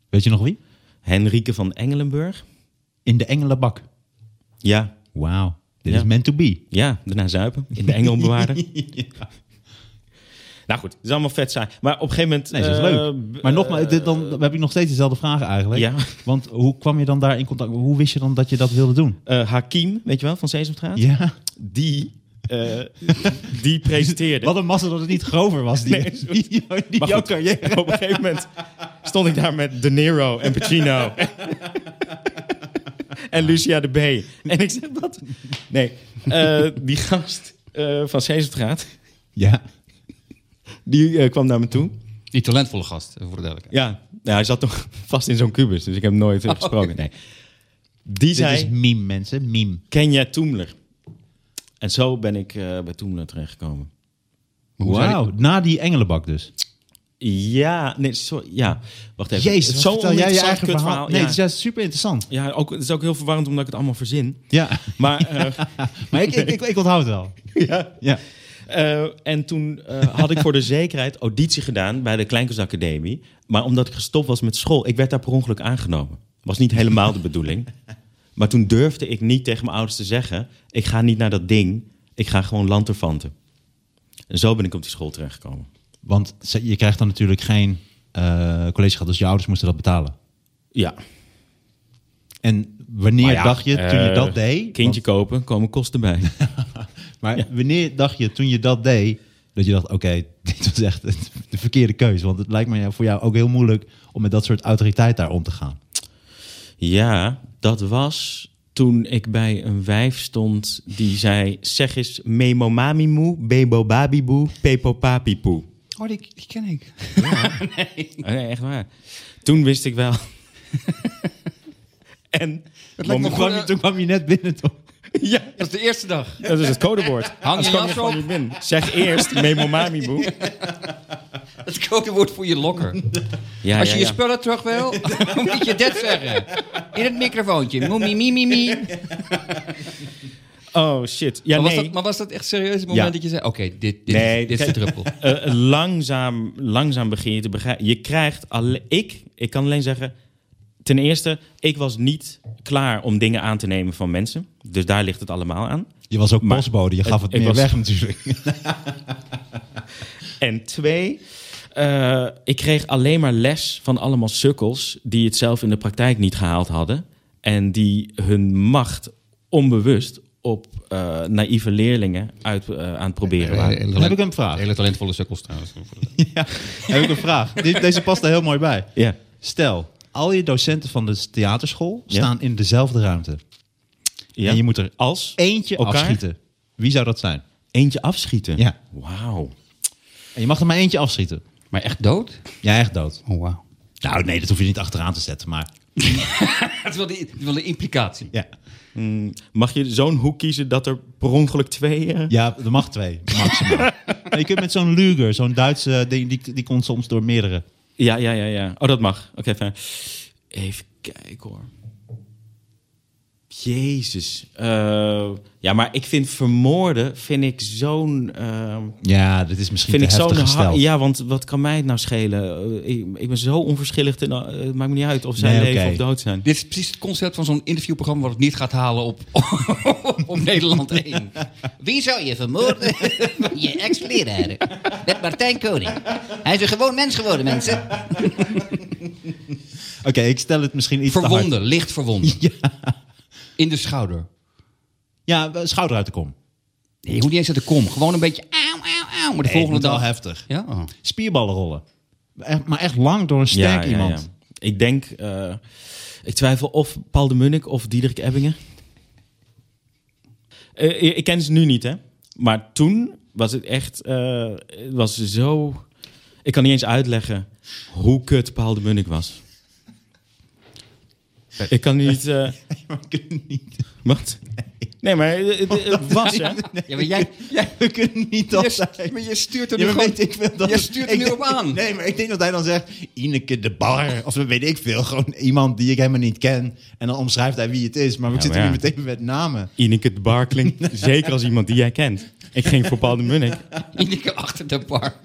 S3: Weet je nog wie?
S2: Henrike van Engelenburg.
S3: In de Engelenbak.
S2: Ja,
S3: Wauw, dit
S2: Ja.
S3: is meant to be.
S2: ja, daarna zuipen. In de Engel bewaren. Nou goed, het is allemaal vet saai. Maar op een gegeven moment...
S3: Nee, dat is
S2: eh,
S3: leuk.
S2: b-
S3: Maar nogmaals, dit, dan, dan heb ik nog steeds dezelfde vragen eigenlijk.
S2: Ja.
S3: Want hoe kwam je dan daar in contact? Hoe wist je dan dat je dat wilde doen?
S2: eh, Hakim, weet je wel, van Sesamstraat?
S3: Ja.
S2: Die, eh, die presenteerde.
S3: Wat een massa dat het niet grover was, die,
S2: Nee,
S3: die, die, die
S2: Maar
S3: jouw
S2: goed,
S3: carrière.
S2: op een gegeven moment stond ik daar met De Niro en Pacino. en Lucia de B. En ik zeg, wat? Nee, eh, die gast eh, van Sesamstraat,
S3: Ja.
S2: die eh, kwam naar me toe.
S5: Die talentvolle gast, eh, voor de duidelijkheid.
S2: Ja, nou, hij zat toch vast in zo'n kubus, dus ik heb hem nooit eh, gesproken. Nee. Die
S3: Oh. Dit
S2: zei...
S3: is meme, mensen. Meme.
S2: Kenya Toemler. En zo ben ik eh, bij Toemler terechtgekomen.
S3: Wauw, na die engelenbak dus.
S2: Ja, nee, sorry, ja. Wacht even. Het is zo'n
S3: vertel jij je
S2: oninteressant
S3: eigen verhaal?
S2: kutverhaal.
S3: Nee,
S2: ja.
S3: het is juist super interessant.
S2: ja, ook, het is ook heel verwarrend omdat ik het allemaal verzin.
S3: Ja,
S2: Maar, eh,
S3: maar ik, ik, ik, ik onthoud het wel.
S2: ja.
S3: Ja.
S2: Eh, en toen eh, had ik voor de zekerheid auditie gedaan bij de Kleinkunstacademie. Maar omdat ik gestopt was met school, ik werd daar per ongeluk aangenomen. Was niet helemaal de bedoeling. Maar toen durfde ik niet tegen mijn ouders te zeggen... ik ga niet naar dat ding, ik ga gewoon lanterfanten. En zo ben ik op die school terechtgekomen.
S3: Want ze- je krijgt dan natuurlijk geen eh collegegeld, dus je ouders moesten dat betalen.
S2: Ja,
S3: En wanneer
S2: Maar ja,
S3: dacht je, toen je
S2: eh,
S3: dat deed...
S2: Kindje kopen, komen kosten bij.
S3: want- maar wanneer dacht je, toen je dat deed, dat je dacht... Oké, dit was echt de verkeerde keuze. Want het lijkt me voor jou ook heel moeilijk om met dat soort autoriteit daar om te gaan.
S2: ja, dat was toen ik bij een wijf stond die zei... zeg eens memo mamimoe, bebo babiboe, pepo papipoe.
S5: Oh, die, die ken ik.
S2: Oh, nee, echt waar. Toen wist ik wel. en
S5: lijkt me
S3: Toen kwam, je, toen kwam je net binnen, toch?
S2: ja,
S5: Dat is de eerste dag.
S2: dat is het codewoord. Anders
S5: je
S2: kom
S5: jas
S2: gewoon
S5: op?
S2: niet binnen. Zeg eerst memo mamiboe.
S5: Het codewoord voor je lokker.
S2: Ja,
S5: Als
S2: ja,
S5: je je
S2: ja.
S5: spullen terug wil, moet je dit zeggen. In het microfoontje. Moemie, mie, mie, mie.
S2: Oh shit. Ja,
S5: maar, was
S2: nee.
S5: dat, maar was dat echt serieus het moment
S2: Ja.
S5: dat je zei... Oké, dit, dit, is-
S2: Nee,
S5: dit is de
S2: kijk,
S5: druppel.
S2: Eh, langzaam, langzaam begin je te begrijpen. Je krijgt alleen. Ik, ik kan alleen zeggen. Ten eerste, ik was niet klaar om dingen aan te nemen van mensen. Dus daar ligt het allemaal aan.
S3: Je was ook
S2: Maar-
S3: postbode, je gaf het,
S2: ik
S3: meer
S2: was-
S3: weg natuurlijk.
S2: En twee, eh, ik kreeg alleen maar les van allemaal sukkels die het zelf in de praktijk niet gehaald hadden. En die hun macht onbewust op eh naïeve leerlingen uit, eh, aan het proberen waren.
S3: Dan heb ik een vraag.
S5: Hele talentvolle sukkels trouwens.
S3: Ja, heb ik een vraag. Dit- Deze past er heel mooi bij.
S2: Ja.
S3: Stel, al je docenten van de theaterschool
S2: Ja.
S3: staan in dezelfde ruimte.
S2: Ja.
S3: En je moet er
S2: als
S3: eentje
S2: Elkaar?
S3: afschieten. Wie zou dat zijn?
S2: eentje afschieten.
S3: Ja.
S2: Wauw.
S3: En je mag er maar eentje afschieten.
S5: Maar echt dood?
S3: Ja, echt dood.
S5: Oh, wauw.
S3: Nou, nee, dat hoef je niet achteraan te zetten, maar...
S5: Dat is wel, die, dat is wel een implicatie.
S3: Ja,
S2: Mag je zo'n hoek kiezen dat er per ongeluk twee... eh,
S3: ja er mag twee, maximaal. Nee, je kunt met zo'n Luger, zo'n Duitse... eh, Die, die, die komt soms door meerdere.
S2: Ja, ja, ja, ja. Oh, dat mag. Oké, fijn. Even kijken hoor. Jezus. Eh, ja, maar ik vind vermoorden vind ik zo'n. eh,
S3: Ja, dit is misschien
S2: vind ik
S3: te
S2: zo'n.
S3: heftig
S2: ha-
S3: gesteld.
S2: Ja, want wat kan mij het nou schelen? Eh, ik, ik ben zo onverschillig. Ten, eh, het maakt me niet uit of zij
S3: Nee,
S2: leven
S3: oké.
S2: of dood zijn.
S5: Dit is precies het concept van zo'n interviewprogramma... wat het niet gaat halen op, op Nederland 1.
S6: Wie zou je vermoorden? je ex-leraren. Met Martijn Koning. Hij is een gewoon mens geworden, mensen.
S3: Oké, ik stel het misschien iets te hard.
S5: Verwonden, licht verwonden. In de schouder.
S3: Ja, eh, schouder uit de kom.
S5: Nee, je moet niet eens uit de kom. Gewoon een beetje auw, auw, auw. Maar de
S3: Nee,
S5: volgende
S3: niet wel
S5: dag...
S3: heftig.
S5: Ja? Oh.
S3: Spierballen rollen. Echt- maar echt lang door een sterk iemand.
S2: Ik denk, eh, ik twijfel of Paul de Munnik of Diederik Ebbingen. Eh, ik ik ken ze nu niet, hè. Maar toen was het echt, eh, het was zo... Ik kan niet eens uitleggen hoe kut Paul de Munnik was. Ik kan niet... eh,
S3: Maar we kunnen niet,
S2: wat? Nee, maar het, het- het was, hè.
S5: Ja, maar jij... jij
S3: we kunnen niet dat zijn.
S5: je, maar je stuurt
S3: Ja,
S5: er nu
S3: maar
S5: gewoon...
S3: weet ik veel dat-
S5: Jij stuurt er
S3: ik
S5: nu
S3: denk-
S5: op aan.
S3: Nee, maar ik denk dat hij dan zegt... Ineke de Bar, of weet ik veel. Gewoon iemand die ik helemaal niet ken. En dan omschrijft hij wie het is. Maar we
S2: Ja,
S3: zitten
S2: maar
S3: nu
S2: ja.
S3: meteen met namen.
S2: Ineke de Bar klinkt zeker als iemand die jij kent. Ik ging voor Paul de Munnik.
S5: Ineke achter de bar.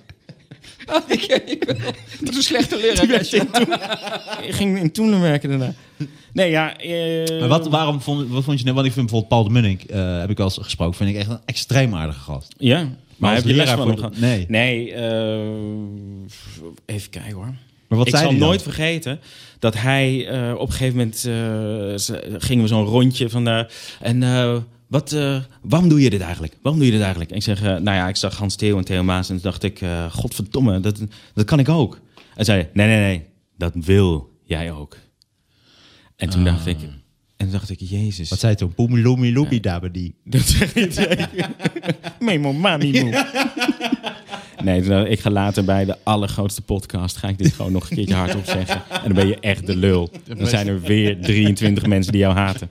S5: Oh, ik, ik wil. Dat is een slechte leraar.
S2: Ik ging in Toenen werken daarna. Nee, ja... eh,
S3: Maar wat, waarom vond, wat vond je... net- Want ik vind bijvoorbeeld Paul de Munnik... eh, heb ik wel eens gesproken. Vind ik echt een extreem aardige gast.
S2: Ja, maar,
S3: als
S2: heb je les
S3: leraar
S2: van
S3: voor
S2: hem gehad?
S3: de- nee.
S2: Nee, eh, even kijken hoor.
S3: Maar wat
S2: ik
S3: zei
S2: zal
S3: hij dan?
S2: nooit vergeten dat hij eh, op een gegeven moment eh, ze- gingen we zo'n rondje van eh, en eh, wat, eh, waarom doe je dit eigenlijk? Waarom doe je dit eigenlijk? En ik zeg, eh, nou ja, ik zag Hans Theo en Theo Maas en toen dacht ik, eh, godverdomme, dat, dat kan ik ook. En zei, hij, nee, nee, nee, dat wil jij ook. En
S3: Ah.
S2: toen dacht ik, en toen dacht ik, jezus.
S3: Wat zei hij toen? Poemeloemi loebi dabadi.
S2: Dat zeg je zeker. Memo mani moe. Nee, dus, eh, ik ga later bij de allergrootste podcast... ga ik dit gewoon nog een keertje hardop zeggen. En dan ben je echt de lul. Dan zijn er weer 23 mensen die jou haten.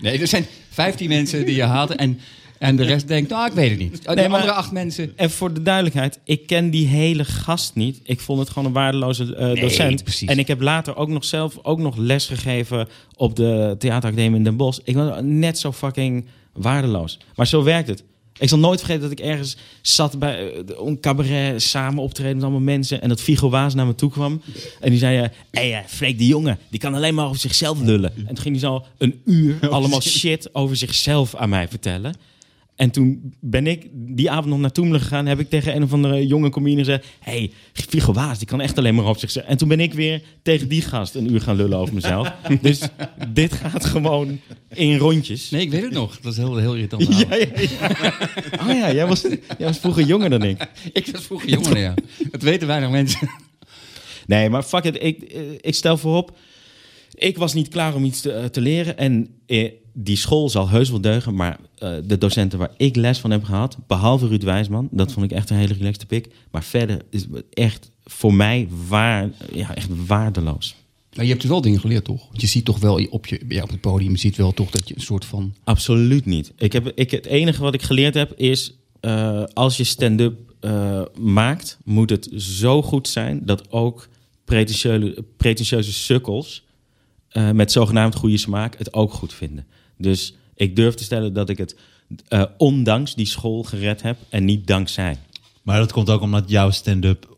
S5: Nee, er zijn 15 mensen die je haten en, en de rest denkt, nou, ik weet het niet. Oh,
S2: Nee,
S5: de
S2: maar-
S5: andere acht mensen.
S2: En voor de duidelijkheid, ik ken die hele gast niet. Ik vond het gewoon een waardeloze eh, docent.
S5: precies.
S2: En ik heb later ook nog zelf ook nog les gegeven op de theateracademie in Den Bosch. Ik was net zo fucking waardeloos. Maar zo werkt het. Ik zal nooit vergeten dat ik ergens zat bij eh, de- een cabaret samen optreden met allemaal mensen. En dat Figo Waas naar me toe kwam. En die zei, eh, hey, eh, Freek die jongen, die kan alleen maar over zichzelf lullen. En toen ging hij zo een uur allemaal shit over zichzelf aan mij vertellen. En toen ben ik die avond nog naar Toemelen gegaan. Heb ik tegen een of andere jonge comedian gezegd... Hé, hey, Figo Waas, die kan echt alleen maar op zichzelf. En toen ben ik weer tegen die gast een uur gaan lullen over mezelf. dus dit gaat gewoon in rondjes.
S5: Nee, ik weet het nog. Dat is heel, heel irritant. Nou.
S2: Ja, ja, ja. Oh ja, jij was, jij was vroeger jonger dan ik.
S5: Ik was vroeger jonger, ja. Dat weten weinig mensen.
S2: Nee, maar fuck it. Ik, eh, ik stel voorop. Ik was niet klaar om iets te, eh, te leren. En eh, die school zal heus wel deugen. Maar eh, de docenten waar ik les van heb gehad. Behalve Ruud Wijsman. Dat vond ik echt een hele relaxte pik. Maar verder is het echt voor mij waar, ja, echt waardeloos.
S5: Maar je hebt er wel dingen geleerd, toch? Want je ziet toch wel op, je, ja, op het podium, je ziet wel toch dat je een soort van...
S2: Absoluut niet. Ik heb, ik, het enige wat ik geleerd heb is... eh, als je stand-up eh, maakt, moet het zo goed zijn... dat ook pretentieuze, pretentieuze sukkels... eh, met zogenaamd goede smaak het ook goed vinden. Dus ik durf te stellen dat ik het eh, ondanks die school gered heb... en niet dankzij.
S3: Maar dat komt ook omdat jouw stand-up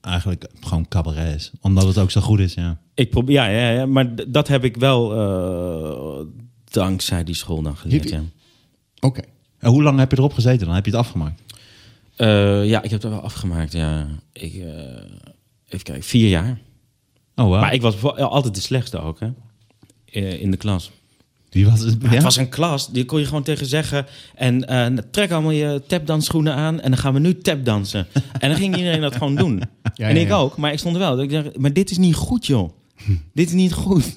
S3: eigenlijk gewoon cabaret is. Omdat het ook zo goed is, ja.
S2: Ik probeer, ja, ja, ja, maar d- dat heb ik wel eh, dankzij die school dan geleerd.
S5: Heb je-
S2: Ja.
S5: Oké.
S3: En hoe lang heb je erop gezeten dan? Heb je het afgemaakt?
S2: Eh, ja, ik heb dat wel afgemaakt. Ja. Ik, eh, even kijken, vier jaar.
S3: Oh, wow.
S2: Maar ik was vo- altijd de slechtste ook, hè? Eh, In de klas.
S3: Die was het,
S2: Maar
S3: ja?
S2: Het was een klas, die kon je gewoon tegen zeggen. En eh, trek allemaal je tapdansschoenen aan en dan gaan we nu tapdansen. en dan ging iedereen dat gewoon doen. en
S4: ja,
S2: ik
S4: ja.
S2: ook, maar ik stond er wel. Dat ik dacht, maar dit is niet goed, joh. dit is niet goed.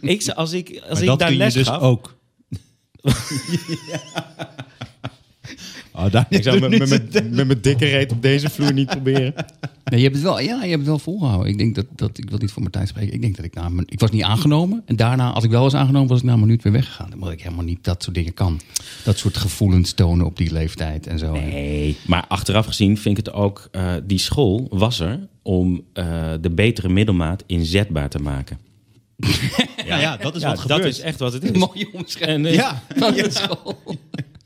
S2: ik, ze- als ik, als
S3: Maar
S2: ik
S3: dat
S2: daar
S3: kun
S2: les
S3: je dus
S2: gaf...
S3: ook. oh, daar
S2: Ik zou met- met- met- met mijn dikke reet op deze vloer niet proberen.
S5: Nee, je hebt het wel, ja, je hebt het wel volgehouden. Ik denk dat, dat, ik wil niet voor Martijn spreken. Ik denk dat ik na mijn, ik was niet aangenomen. En daarna, als ik wel was aangenomen, was ik na een minuut weer weggegaan. Omdat ik helemaal niet dat soort dingen kan. Dat soort gevoelens tonen op die leeftijd en zo.
S2: Nee, maar achteraf gezien vind ik het ook... eh, die school was er om eh, de betere middelmaat inzetbaar te maken.
S3: Ja, ja, dat is
S2: Ja,
S3: wat gebeurt.
S2: Dat is echt wat het is.
S5: Mooie omschrijving
S2: En, eh,
S3: Ja.
S5: van de school.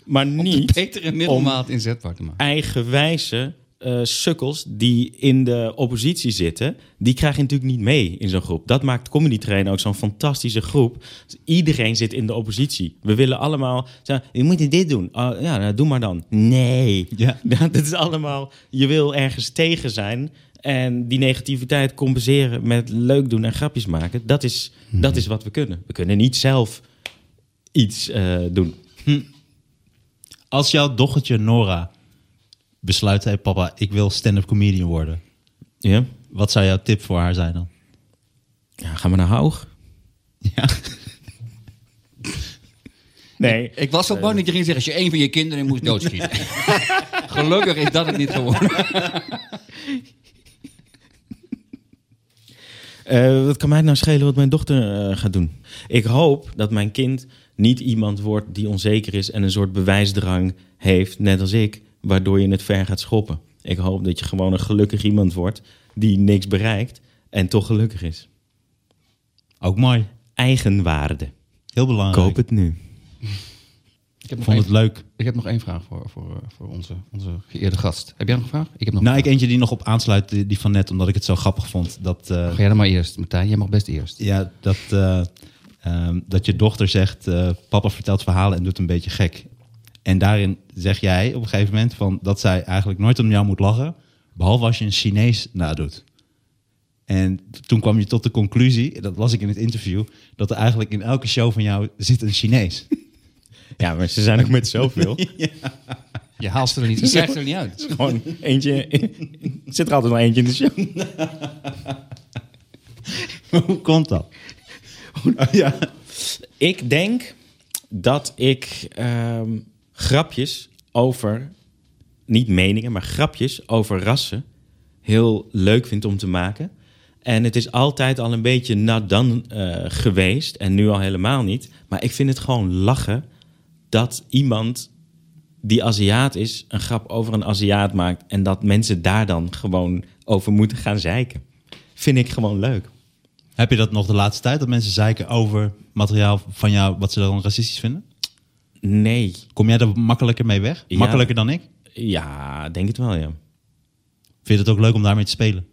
S2: Maar niet
S5: Betere middelmaat inzetbaar te maken.
S2: eigenwijze eh, sukkels die in de oppositie zitten. Die krijg je natuurlijk niet mee in zo'n groep. Dat maakt Comedy Train ook zo'n fantastische groep. Dus iedereen zit in de oppositie. We willen allemaal... zeggen, Je moet dit doen. Ah, ja, nou, doe maar dan. Nee.
S3: Ja.
S2: Dat is allemaal... Je wil ergens tegen zijn... En die negativiteit compenseren met leuk doen en grapjes maken. Dat is, dat is wat we kunnen. We kunnen niet zelf iets eh, doen.
S3: Als jouw dochtertje Nora besluit, hey papa, ik wil stand-up comedian worden.
S2: Ja?
S3: Wat zou jouw tip voor haar zijn dan?
S2: ja gaan we naar Haug?
S3: Ja.
S2: Nee.
S5: Ik was op bang dat je ging zeggen, als je een van je kinderen moest doodschieten. Gelukkig is dat het niet geworden.
S2: Eh, wat kan mij nou schelen wat mijn dochter eh, gaat doen? Ik hoop dat mijn kind niet iemand wordt die onzeker is en een soort bewijsdrang heeft, net als ik, waardoor je het ver gaat schoppen. Ik hoop dat je gewoon een gelukkig iemand wordt die niks bereikt en toch gelukkig is.
S3: Ook mooi.
S2: Eigenwaarde.
S3: Heel belangrijk.
S2: Koop het nu.
S5: Ik heb
S3: Ik
S5: nog
S3: vond
S5: één-
S3: het leuk.
S5: ik heb nog één vraag voor, voor, eh, voor onze, onze geëerde gast. Heb jij nog een vraag? Ik heb nog
S3: Nou,
S5: een
S3: ik
S5: vraag.
S3: eentje die nog op aansluit, die die van net, omdat ik het zo grappig vond. Dat, eh,
S5: Ga jij dan maar eerst, Martijn. Jij mag best eerst.
S3: ja, dat, eh, ehm, dat je dochter zegt, eh, papa vertelt verhalen en doet een beetje gek. En daarin zeg jij op een gegeven moment van, dat zij eigenlijk nooit om jou moet lachen, behalve als je een Chinees nadoet. En toen kwam je tot de conclusie, dat las ik in het interview, dat er eigenlijk in elke show van jou zit een Chinees.
S2: Ja, maar ze zijn ook met zoveel.
S5: Je haalt ze er niet, je krijgt ze er niet uit.
S2: Gewoon eentje. Zit er altijd wel eentje in de show.
S3: Hoe komt dat? ja.
S2: Ik denk dat ik ehm, grapjes over, niet meningen, maar grapjes over rassen heel leuk vind om te maken. En het is altijd al een beetje nat dan eh, geweest en nu al helemaal niet. Maar ik vind het gewoon lachen dat iemand die Aziat is, een grap over een Aziat maakt. En dat mensen daar dan gewoon over moeten gaan zeiken. Vind ik gewoon leuk.
S3: Heb je dat nog de laatste tijd, dat mensen zeiken over materiaal van jou, wat ze dan racistisch vinden?
S2: Nee.
S3: Kom jij er makkelijker mee weg?
S2: Ja.
S3: Makkelijker dan ik?
S2: Ja, denk het wel, ja.
S3: Vind je het ook leuk om daarmee te spelen?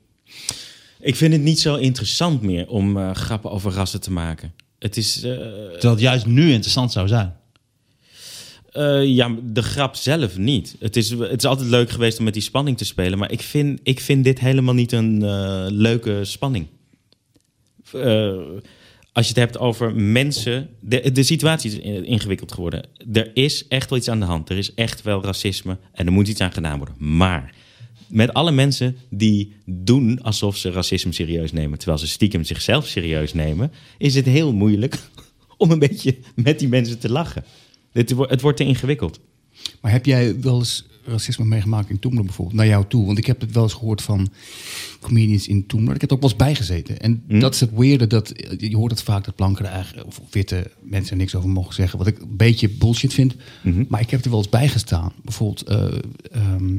S2: Ik vind het niet zo interessant meer om eh, grappen over rassen te maken. Het is, eh,
S3: Terwijl het juist nu interessant zou zijn.
S2: eh, ja, de grap zelf niet. Het is, het is altijd leuk geweest om met die spanning te spelen, maar ik vind, ik vind dit helemaal niet een eh, leuke spanning. Eh, als je het hebt over mensen, de, de situatie is in- ingewikkeld geworden. Er is echt wel iets aan de hand. Er is echt wel racisme en er moet iets aan gedaan worden. Maar met alle mensen die doen alsof ze racisme serieus nemen, terwijl ze stiekem zichzelf serieus nemen, is het heel moeilijk om een beetje met die mensen te lachen. Het, wo- het wordt te ingewikkeld.
S4: Maar heb jij wel eens racisme meegemaakt in Toemler bijvoorbeeld? Naar jou toe? Want ik heb het wel eens gehoord van comedians in Toemler. Ik heb er ook wel eens bij gezeten. En
S5: Hm?
S4: dat is het weirde. Dat, je hoort het vaak dat blanken er eigenlijk, of witte mensen er niks over mogen zeggen. Wat ik een beetje bullshit vind.
S5: Mhm.
S4: Maar ik heb er wel eens bij gestaan. Bijvoorbeeld... eh, ehm,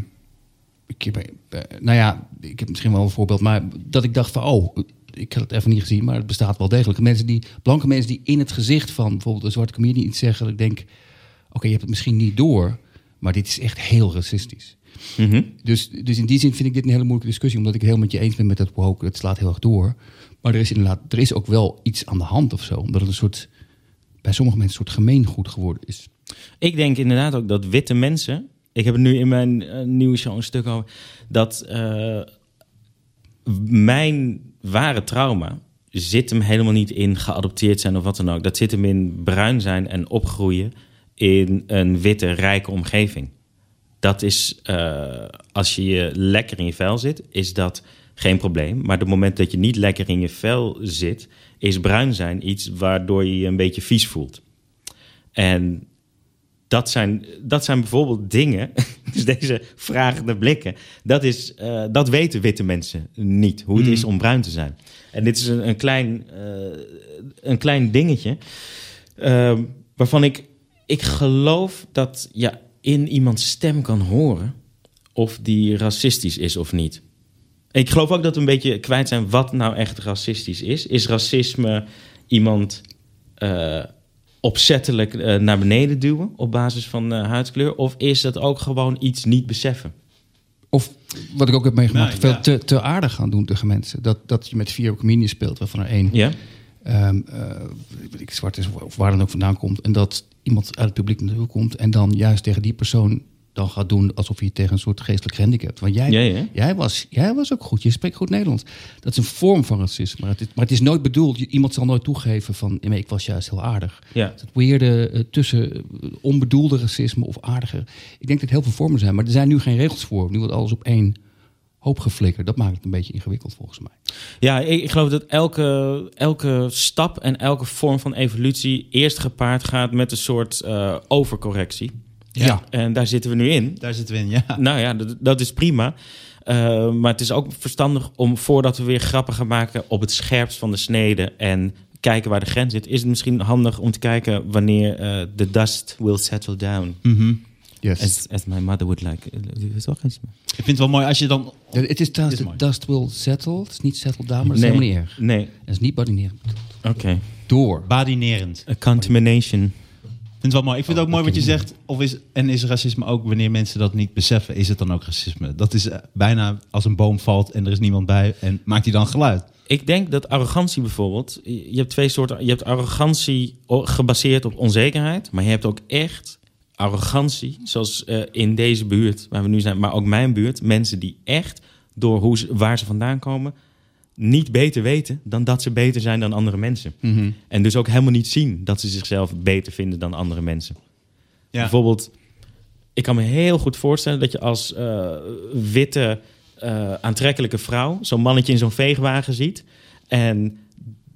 S4: ik heb, eh, nou ja, ik heb misschien wel een voorbeeld, maar dat ik dacht van, oh, ik had het even niet gezien, maar het bestaat wel degelijk. Mensen die, blanke mensen die in het gezicht van bijvoorbeeld een zwarte comedian iets zeggen, dat ik denk, oké, je hebt het misschien niet door, maar dit is echt heel racistisch. Dus, dus in die zin vind ik dit een hele moeilijke discussie, omdat ik het helemaal met je eens ben met dat woke, het slaat heel erg door. Maar er is inderdaad, er is ook wel iets aan de hand of zo, omdat het een soort, bij sommige mensen een soort gemeengoed geworden is.
S2: Ik denk inderdaad ook dat witte mensen. Ik heb het nu in mijn eh, nieuwe show een stuk over. Dat eh, mijn ware trauma zit hem helemaal niet in geadopteerd zijn of wat dan ook. Dat zit hem in bruin zijn en opgroeien in een witte, rijke omgeving. Dat is, eh, als je je lekker in je vel zit, is dat geen probleem. Maar het moment dat je niet lekker in je vel zit, is bruin zijn iets waardoor je je een beetje vies voelt. En dat zijn, dat zijn bijvoorbeeld dingen. Dus deze vragende blikken. Dat, is, eh, dat weten witte mensen niet. Hoe het is om bruin te zijn. En dit is een, een, klein, eh, een klein dingetje. ehm, waarvan ik, ik geloof dat je ja, in iemands stem kan horen. of die racistisch is of niet. Ik geloof ook dat we een beetje kwijt zijn wat nou echt racistisch is. Is racisme iemand eh, opzettelijk eh, naar beneden duwen op basis van eh, huidskleur? Of is dat ook gewoon iets niet beseffen?
S4: Of wat ik ook heb meegemaakt,
S3: Nee,
S4: veel
S3: ja.
S4: te, te aardig gaan doen tegen mensen. Dat, dat je met vier comedians speelt, waarvan er één
S2: Ja?
S4: ehm, eh, weet ik, zwart is of waar dan ook vandaan komt. En dat iemand uit het publiek naartoe komt en dan juist tegen die persoon dan gaat doen alsof je tegen een soort geestelijk handicap. Want jij,
S2: Ja, ja.
S4: jij, was, jij was ook goed. Je spreekt goed Nederlands. Dat is een vorm van racisme. Maar het is, maar het is nooit bedoeld. Je- Iemand zal nooit toegeven van... "Nee, maar ik was juist heel aardig.
S2: Ja.
S4: Het weerde eh, tussen eh, onbedoelde racisme of aardige... Ik denk dat heel veel vormen zijn. Maar er zijn nu geen regels voor. Nu wordt alles op één hoop geflikkerd. Dat maakt het een beetje ingewikkeld volgens mij.
S2: Ja, ik, ik geloof dat elke, elke stap en elke vorm van evolutie eerst gepaard gaat met een soort eh, overcorrectie.
S3: Ja.
S2: En daar zitten we nu in.
S3: Daar zitten we in, ja.
S2: Nou ja, dat, dat is prima. Eh, maar het is ook verstandig om voordat we weer grappen gaan maken op het scherpst van de snede en kijken waar de grens zit, is het misschien handig om te kijken wanneer eh, the dust will settle down.
S4: Mm.
S7: Yes.
S2: As, as my mother would like. Eh, is wel geen-
S3: Ik vind het wel mooi als je dan...
S4: Ja, eh, Het is trouwens,
S3: Dit is
S4: de dust will settle. Het is niet settled down, maar dat is
S2: nee,
S4: helemaal niet erg.
S2: Nee,
S4: Dat is niet badineer.
S2: oké.
S4: Door.
S3: Badinerend.
S2: A contamination.
S3: Ik vind het wel mooi. Ik vind het ook mooi wat je zegt. Of is, en is racisme ook, wanneer mensen dat niet beseffen, is het dan ook racisme? Dat is eh, bijna als een boom valt en er is niemand bij en maakt hij dan geluid.
S2: Ik denk dat arrogantie bijvoorbeeld. Je hebt twee soorten. Je hebt arrogantie o- gebaseerd op onzekerheid. Maar je hebt ook echt arrogantie. Zoals eh, in deze buurt waar we nu zijn. Maar ook mijn buurt. Mensen die echt door hoe ze, waar ze vandaan komen. niet beter weten dan dat ze beter zijn dan andere mensen. En dus ook helemaal niet zien dat ze zichzelf beter vinden dan andere mensen.
S3: Ja.
S2: Bijvoorbeeld, ik kan me heel goed voorstellen dat je als eh, witte, eh, aantrekkelijke vrouw zo'n mannetje in zo'n veegwagen ziet. En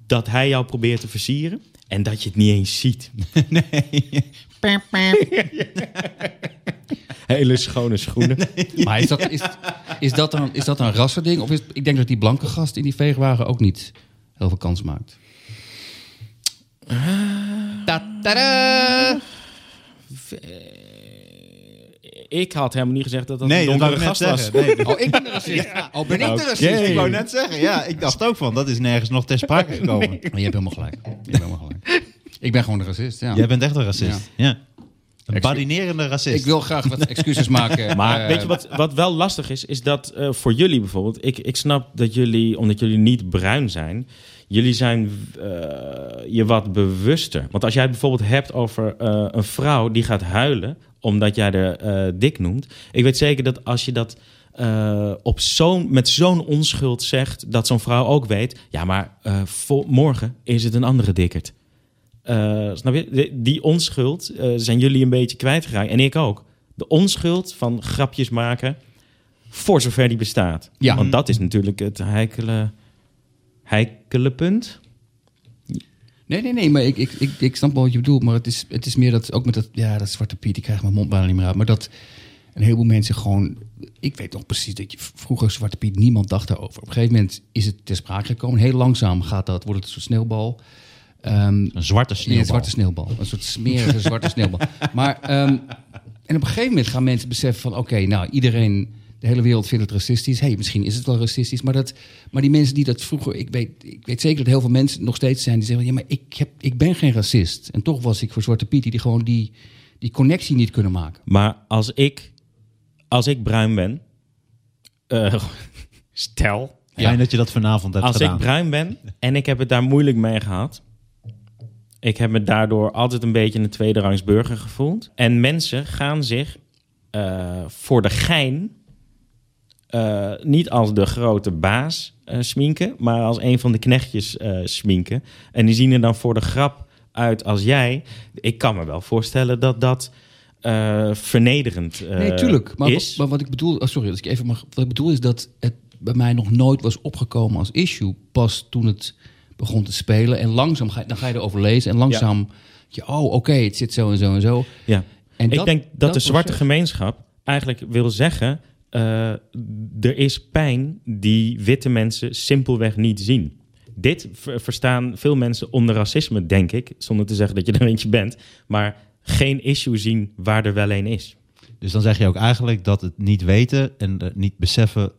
S2: dat hij jou probeert te versieren. En dat je het niet eens ziet. Hele schone schoenen.
S4: Maar is dat, is, is dat, dan, is dat een rassending? Of is, ik denk dat die blanke gast in die veegwagen ook niet heel veel kans maakt.
S8: Ta- tadaa!
S2: Ik had helemaal niet gezegd dat dat
S3: Nee,
S2: een
S3: dat wou
S2: donkere
S3: ik net
S2: gast was.
S3: zeggen. Nee, dat-
S4: Oh, ik ben een racist. Oh, ben ik de racist?
S3: Ik wou net zeggen, ja, ik dacht ook van, dat is nergens nog ter sprake gekomen.
S4: Maar je hebt helemaal gelijk. Je hebt helemaal gelijk. Ik ben gewoon een racist, ja.
S3: Jij bent echt een racist. Ja. Een badinerende racist.
S4: Ik wil graag wat excuses maken.
S2: Maar
S4: eh,
S2: weet je wat, wat wel lastig is? Is dat eh, voor jullie bijvoorbeeld. Ik, ik snap dat jullie, omdat jullie niet bruin zijn. Jullie zijn eh, je wat bewuster. Want als jij het bijvoorbeeld hebt over eh, een vrouw die gaat huilen. omdat jij haar eh, dik noemt. Ik weet zeker dat als je dat eh, op zo'n, met zo'n onschuld zegt. dat zo'n vrouw ook weet. ja, maar eh, vol- morgen is het een andere dikkerd. Eh, snap je? De- die onschuld eh, zijn jullie een beetje kwijtgeraakt. En ik ook. De onschuld van grapjes maken. Voor zover die bestaat.
S4: Ja.
S2: Want dat is natuurlijk het heikele, heikele punt.
S4: Nee, nee, nee, maar ik, ik, ik, ik snap wel wat je bedoelt. Maar het is, het is meer dat, ook met dat, ja, dat Zwarte Piet, ik krijg mijn mond bijna niet meer uit. Maar dat een heleboel mensen gewoon, ik weet nog precies dat je v- vroeger Zwarte Piet, niemand dacht daarover. Op een gegeven moment is het ter sprake gekomen. Heel langzaam gaat dat, wordt het een soort sneeuwbal. Ehm,
S3: Een zwarte
S4: ja,
S3: sneeuwbal.
S4: Een zwarte sneeuwbal. Een soort smerige zwarte sneeuwbal. Maar ehm, en op een gegeven moment gaan mensen beseffen van... oké, nou, iedereen, de hele wereld vindt het racistisch. hey, misschien is het wel racistisch. Maar, dat, maar die mensen die dat vroeger... Ik weet, ik weet zeker dat heel veel mensen nog steeds zijn... die zeggen, ja, maar ik, heb, ik ben geen racist. En toch was ik voor Zwarte Piet... die, die gewoon die, die connectie niet kunnen maken.
S2: Maar als ik, als ik bruin ben. eh, stel.
S3: Fijn dat je dat vanavond hebt
S2: Als
S3: gedaan.
S2: ik bruin ben en ik heb het daar moeilijk mee gehad. Ik heb me daardoor altijd een beetje een tweederangs burger gevoeld. En mensen gaan zich eh, voor de gein eh, niet als de grote baas eh, sminken, maar als een van de knechtjes eh, sminken. En die zien er dan voor de grap uit als jij. Ik kan me wel voorstellen dat dat eh, vernederend eh,
S4: Nee, tuurlijk. Maar,
S2: is.
S4: wa- maar wat ik bedoel, oh, sorry, als ik even mag. Wat ik bedoel is dat het bij mij nog nooit was opgekomen als issue. Pas toen het begon te spelen. En langzaam ga, je- dan ga je erover lezen. En langzaam, je, oh, oké, het zit zo en zo en zo.
S2: Ja.
S4: En
S2: ik
S4: dat-
S2: denk dat,
S4: dat
S2: de zwarte
S4: proces-
S2: gemeenschap eigenlijk wil zeggen... eh, er is pijn die witte mensen simpelweg niet zien. Dit ver- verstaan veel mensen onder racisme, denk ik. Zonder te zeggen dat je er eentje bent. Maar geen issue zien waar er wel een is.
S3: Dus dan zeg je ook eigenlijk dat het niet weten en eh, niet beseffen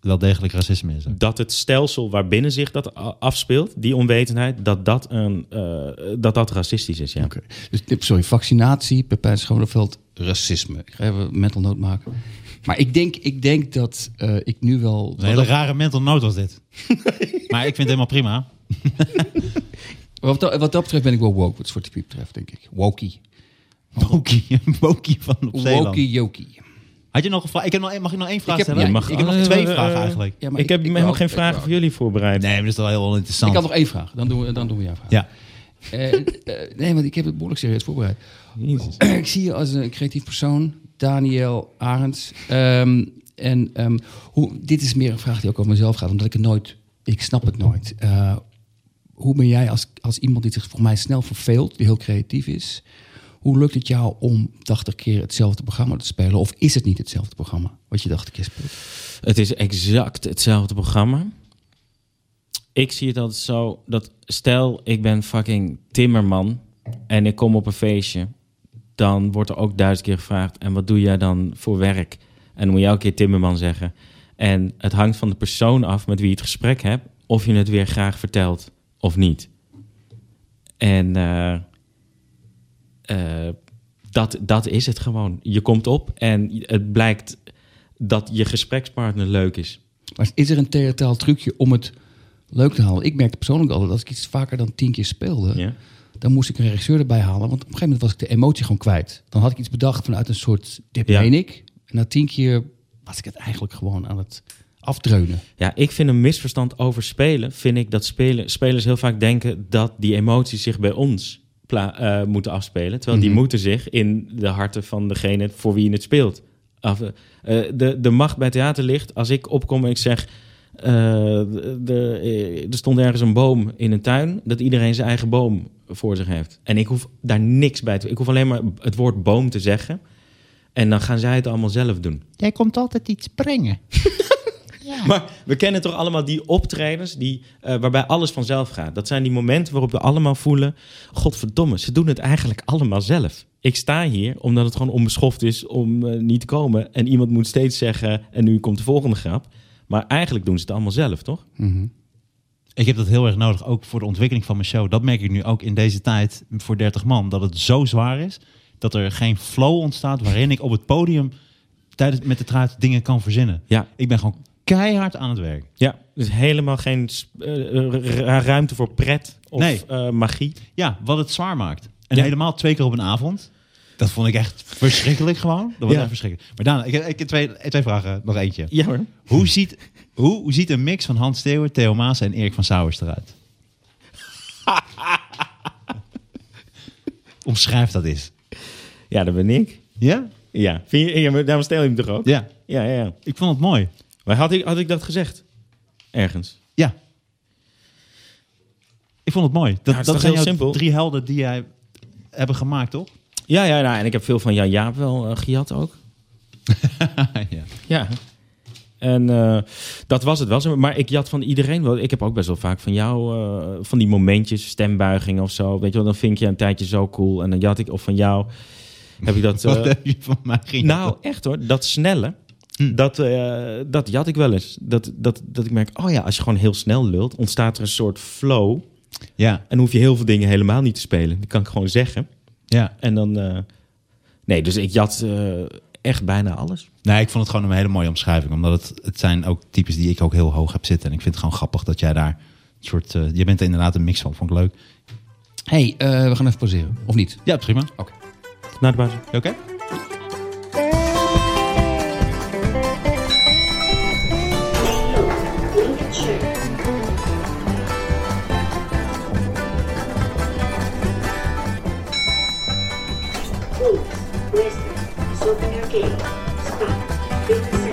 S3: wel degelijk racisme is.
S2: Dat het stelsel waarbinnen zich dat a- afspeelt, die onwetendheid... dat dat, een, eh, dat, dat racistisch is, ja.
S4: Oké. Dus, tip, sorry, vaccinatie, Pepijn Schoneveld, racisme. Ik ga even mental note maken. Maar ik denk, ik denk dat eh, ik nu wel...
S3: Een hele rare mental note was dit. maar ik vind het helemaal prima.
S4: Wat dat, wat dat betreft ben ik wel woke, wat Zwarte Piet betreft, denk ik. Wokey.
S3: Boki, Boki van op Zeeland.
S4: Woki Joki.
S3: Had je nog een vraag? Ik heb nog, één- mag ik nog één vraag
S4: Ik heb-
S3: stellen?
S4: ja,
S3: ik,
S4: mag-
S3: heb nog
S2: eh,
S3: twee
S2: eh,
S3: vragen eigenlijk.
S4: Ja, maar
S2: ik heb
S4: ik
S2: helemaal
S4: wou-
S2: geen
S4: ik
S2: vragen
S4: wou-
S2: voor jullie voorbereid.
S3: Nee, maar dat is wel heel
S4: Ik
S3: interessant.
S4: had nog één vraag. Dan doen we, dan doen we jouw vraag.
S3: Ja.
S4: Eh, eh, nee, want ik heb het behoorlijk serieus voorbereid.
S2: Jezus.
S4: ik zie je als een creatief persoon, Daniel Arends. Ehm, en ehm, hoe, dit is meer een vraag die ook over mezelf gaat, omdat ik het nooit, ik snap het nooit. Eh, hoe ben jij als, als iemand die zich volgens mij snel verveelt, die heel creatief is, hoe lukt het jou om 80 keer hetzelfde programma te spelen? Of is het niet hetzelfde programma wat je 80 keer speelt?
S2: Het is exact hetzelfde programma. Ik zie het altijd zo dat stel ik ben fucking timmerman en ik kom op een feestje, dan wordt er ook duizend keer gevraagd en wat doe jij dan voor werk? En dan moet je elke keer timmerman zeggen. En het hangt van de persoon af met wie je het gesprek hebt, of je het weer graag vertelt of niet. En eh, eh, dat, dat is het gewoon. Je komt op en het blijkt dat je gesprekspartner leuk is.
S4: Maar is er een theatraal trucje om het leuk te halen? Ik merkte persoonlijk altijd, als ik iets vaker dan 10 keer speelde,
S2: Ja.
S4: dan moest ik een regisseur erbij halen. Want op een gegeven moment was ik de emotie gewoon kwijt. Dan had ik iets bedacht vanuit een soort, dit
S2: Ja.
S4: meen ik. En na tien keer was ik het eigenlijk gewoon aan het afdreunen.
S2: Ja, ik vind een misverstand over spelen, vind ik dat spelen, spelers heel vaak denken dat die emoties zich bij ons pla- eh, moeten afspelen. Terwijl die moeten zich in de harten van degene voor wie je het speelt. Af, eh, de, de macht bij theater ligt, als ik opkom en ik zeg, eh, de, de- eh, er stond ergens een boom in een tuin, dat iedereen zijn eigen boom voor zich heeft. En ik hoef daar niks bij te... Ik hoef alleen maar het woord boom te zeggen. En dan gaan zij het allemaal zelf doen.
S9: Jij komt altijd iets brengen.
S2: Maar we kennen toch allemaal die optredens die, eh, waarbij alles vanzelf gaat. Dat zijn die momenten waarop we allemaal voelen... Godverdomme, ze doen het eigenlijk allemaal zelf. Ik sta hier omdat het gewoon onbeschoft is om eh, niet te komen. En iemand moet steeds zeggen, en nu komt de volgende grap. Maar eigenlijk doen ze het allemaal zelf, toch?
S3: Ik heb dat heel erg nodig, ook voor de ontwikkeling van mijn show. Dat merk ik nu ook in deze tijd voor 30 man, dat het zo zwaar is dat er geen flow ontstaat waarin ik op het podium tijdens met de truit dingen kan verzinnen.
S2: Ja.
S3: Ik ben gewoon keihard aan het werk.
S2: Ja, dus helemaal geen sp- eh, ra- ruimte voor pret of
S3: Nee.
S2: eh, magie.
S3: Ja, wat het zwaar maakt. En
S2: Ja.
S3: helemaal twee keer op een avond. Dat vond ik echt verschrikkelijk gewoon. Dat was
S2: Ja.
S3: echt verschrikkelijk. Maar Daan, ik heb, ik heb twee, twee vragen. Nog eentje.
S2: Ja hoor.
S3: Hoe, ziet, hoe, hoe ziet een mix van Hans Steeuwen, Theo Maas en Erik van Sauers eruit? Omschrijf dat eens.
S2: Ja, dat ben ik.
S3: Ja?
S2: Ja, Vind je, ja maar daarom stel je hem toch ook?
S3: Ja.
S2: ja, ja. ja.
S3: Ik vond het mooi.
S2: Maar had ik, had ik dat gezegd? Ergens.
S3: Ja. Ik vond het mooi. Dat,
S2: het is
S3: dat
S2: toch
S3: zijn
S2: heel
S3: jouw
S2: simpel?
S3: drie helden die jij hebben gemaakt, toch?
S2: Ja, ja, nou, en ik heb veel van Jan Jaap wel eh, gejat ook.
S3: ja.
S2: Ja. En eh, dat was het wel. zo. Maar ik jat van iedereen wel. Ik heb ook best wel vaak van jou, eh, van die momentjes, stembuigingen of zo. Weet je wel, dan vind ik je een tijdje zo cool. En dan jat ik, of van jou, heb ik dat... eh,
S3: Wat heb je van mij ging
S2: nou, echt hoor, dat snelle,
S3: Hmm.
S2: dat, eh, dat jat ik wel eens. Dat, dat, dat ik merk, oh ja, als je gewoon heel snel lult, ontstaat er een soort flow.
S3: Ja,
S2: En hoef je heel veel dingen helemaal niet te spelen. Dat kan ik gewoon zeggen.
S3: ja.
S2: En dan. eh, nee, dus ik jat eh, echt bijna alles.
S3: Nee, ik vond het gewoon een hele mooie omschrijving. Omdat het, het zijn ook types die ik ook heel hoog heb zitten. En ik vind het gewoon grappig dat jij daar een soort... eh, je bent er inderdaad een mix van. Vond ik leuk.
S4: hey, eh, we gaan even pauzeren. Of niet?
S3: Ja, prima. Oké.
S2: Naar de basis.
S3: Oké?
S10: Please, listen. Souvenir game. Stop. Business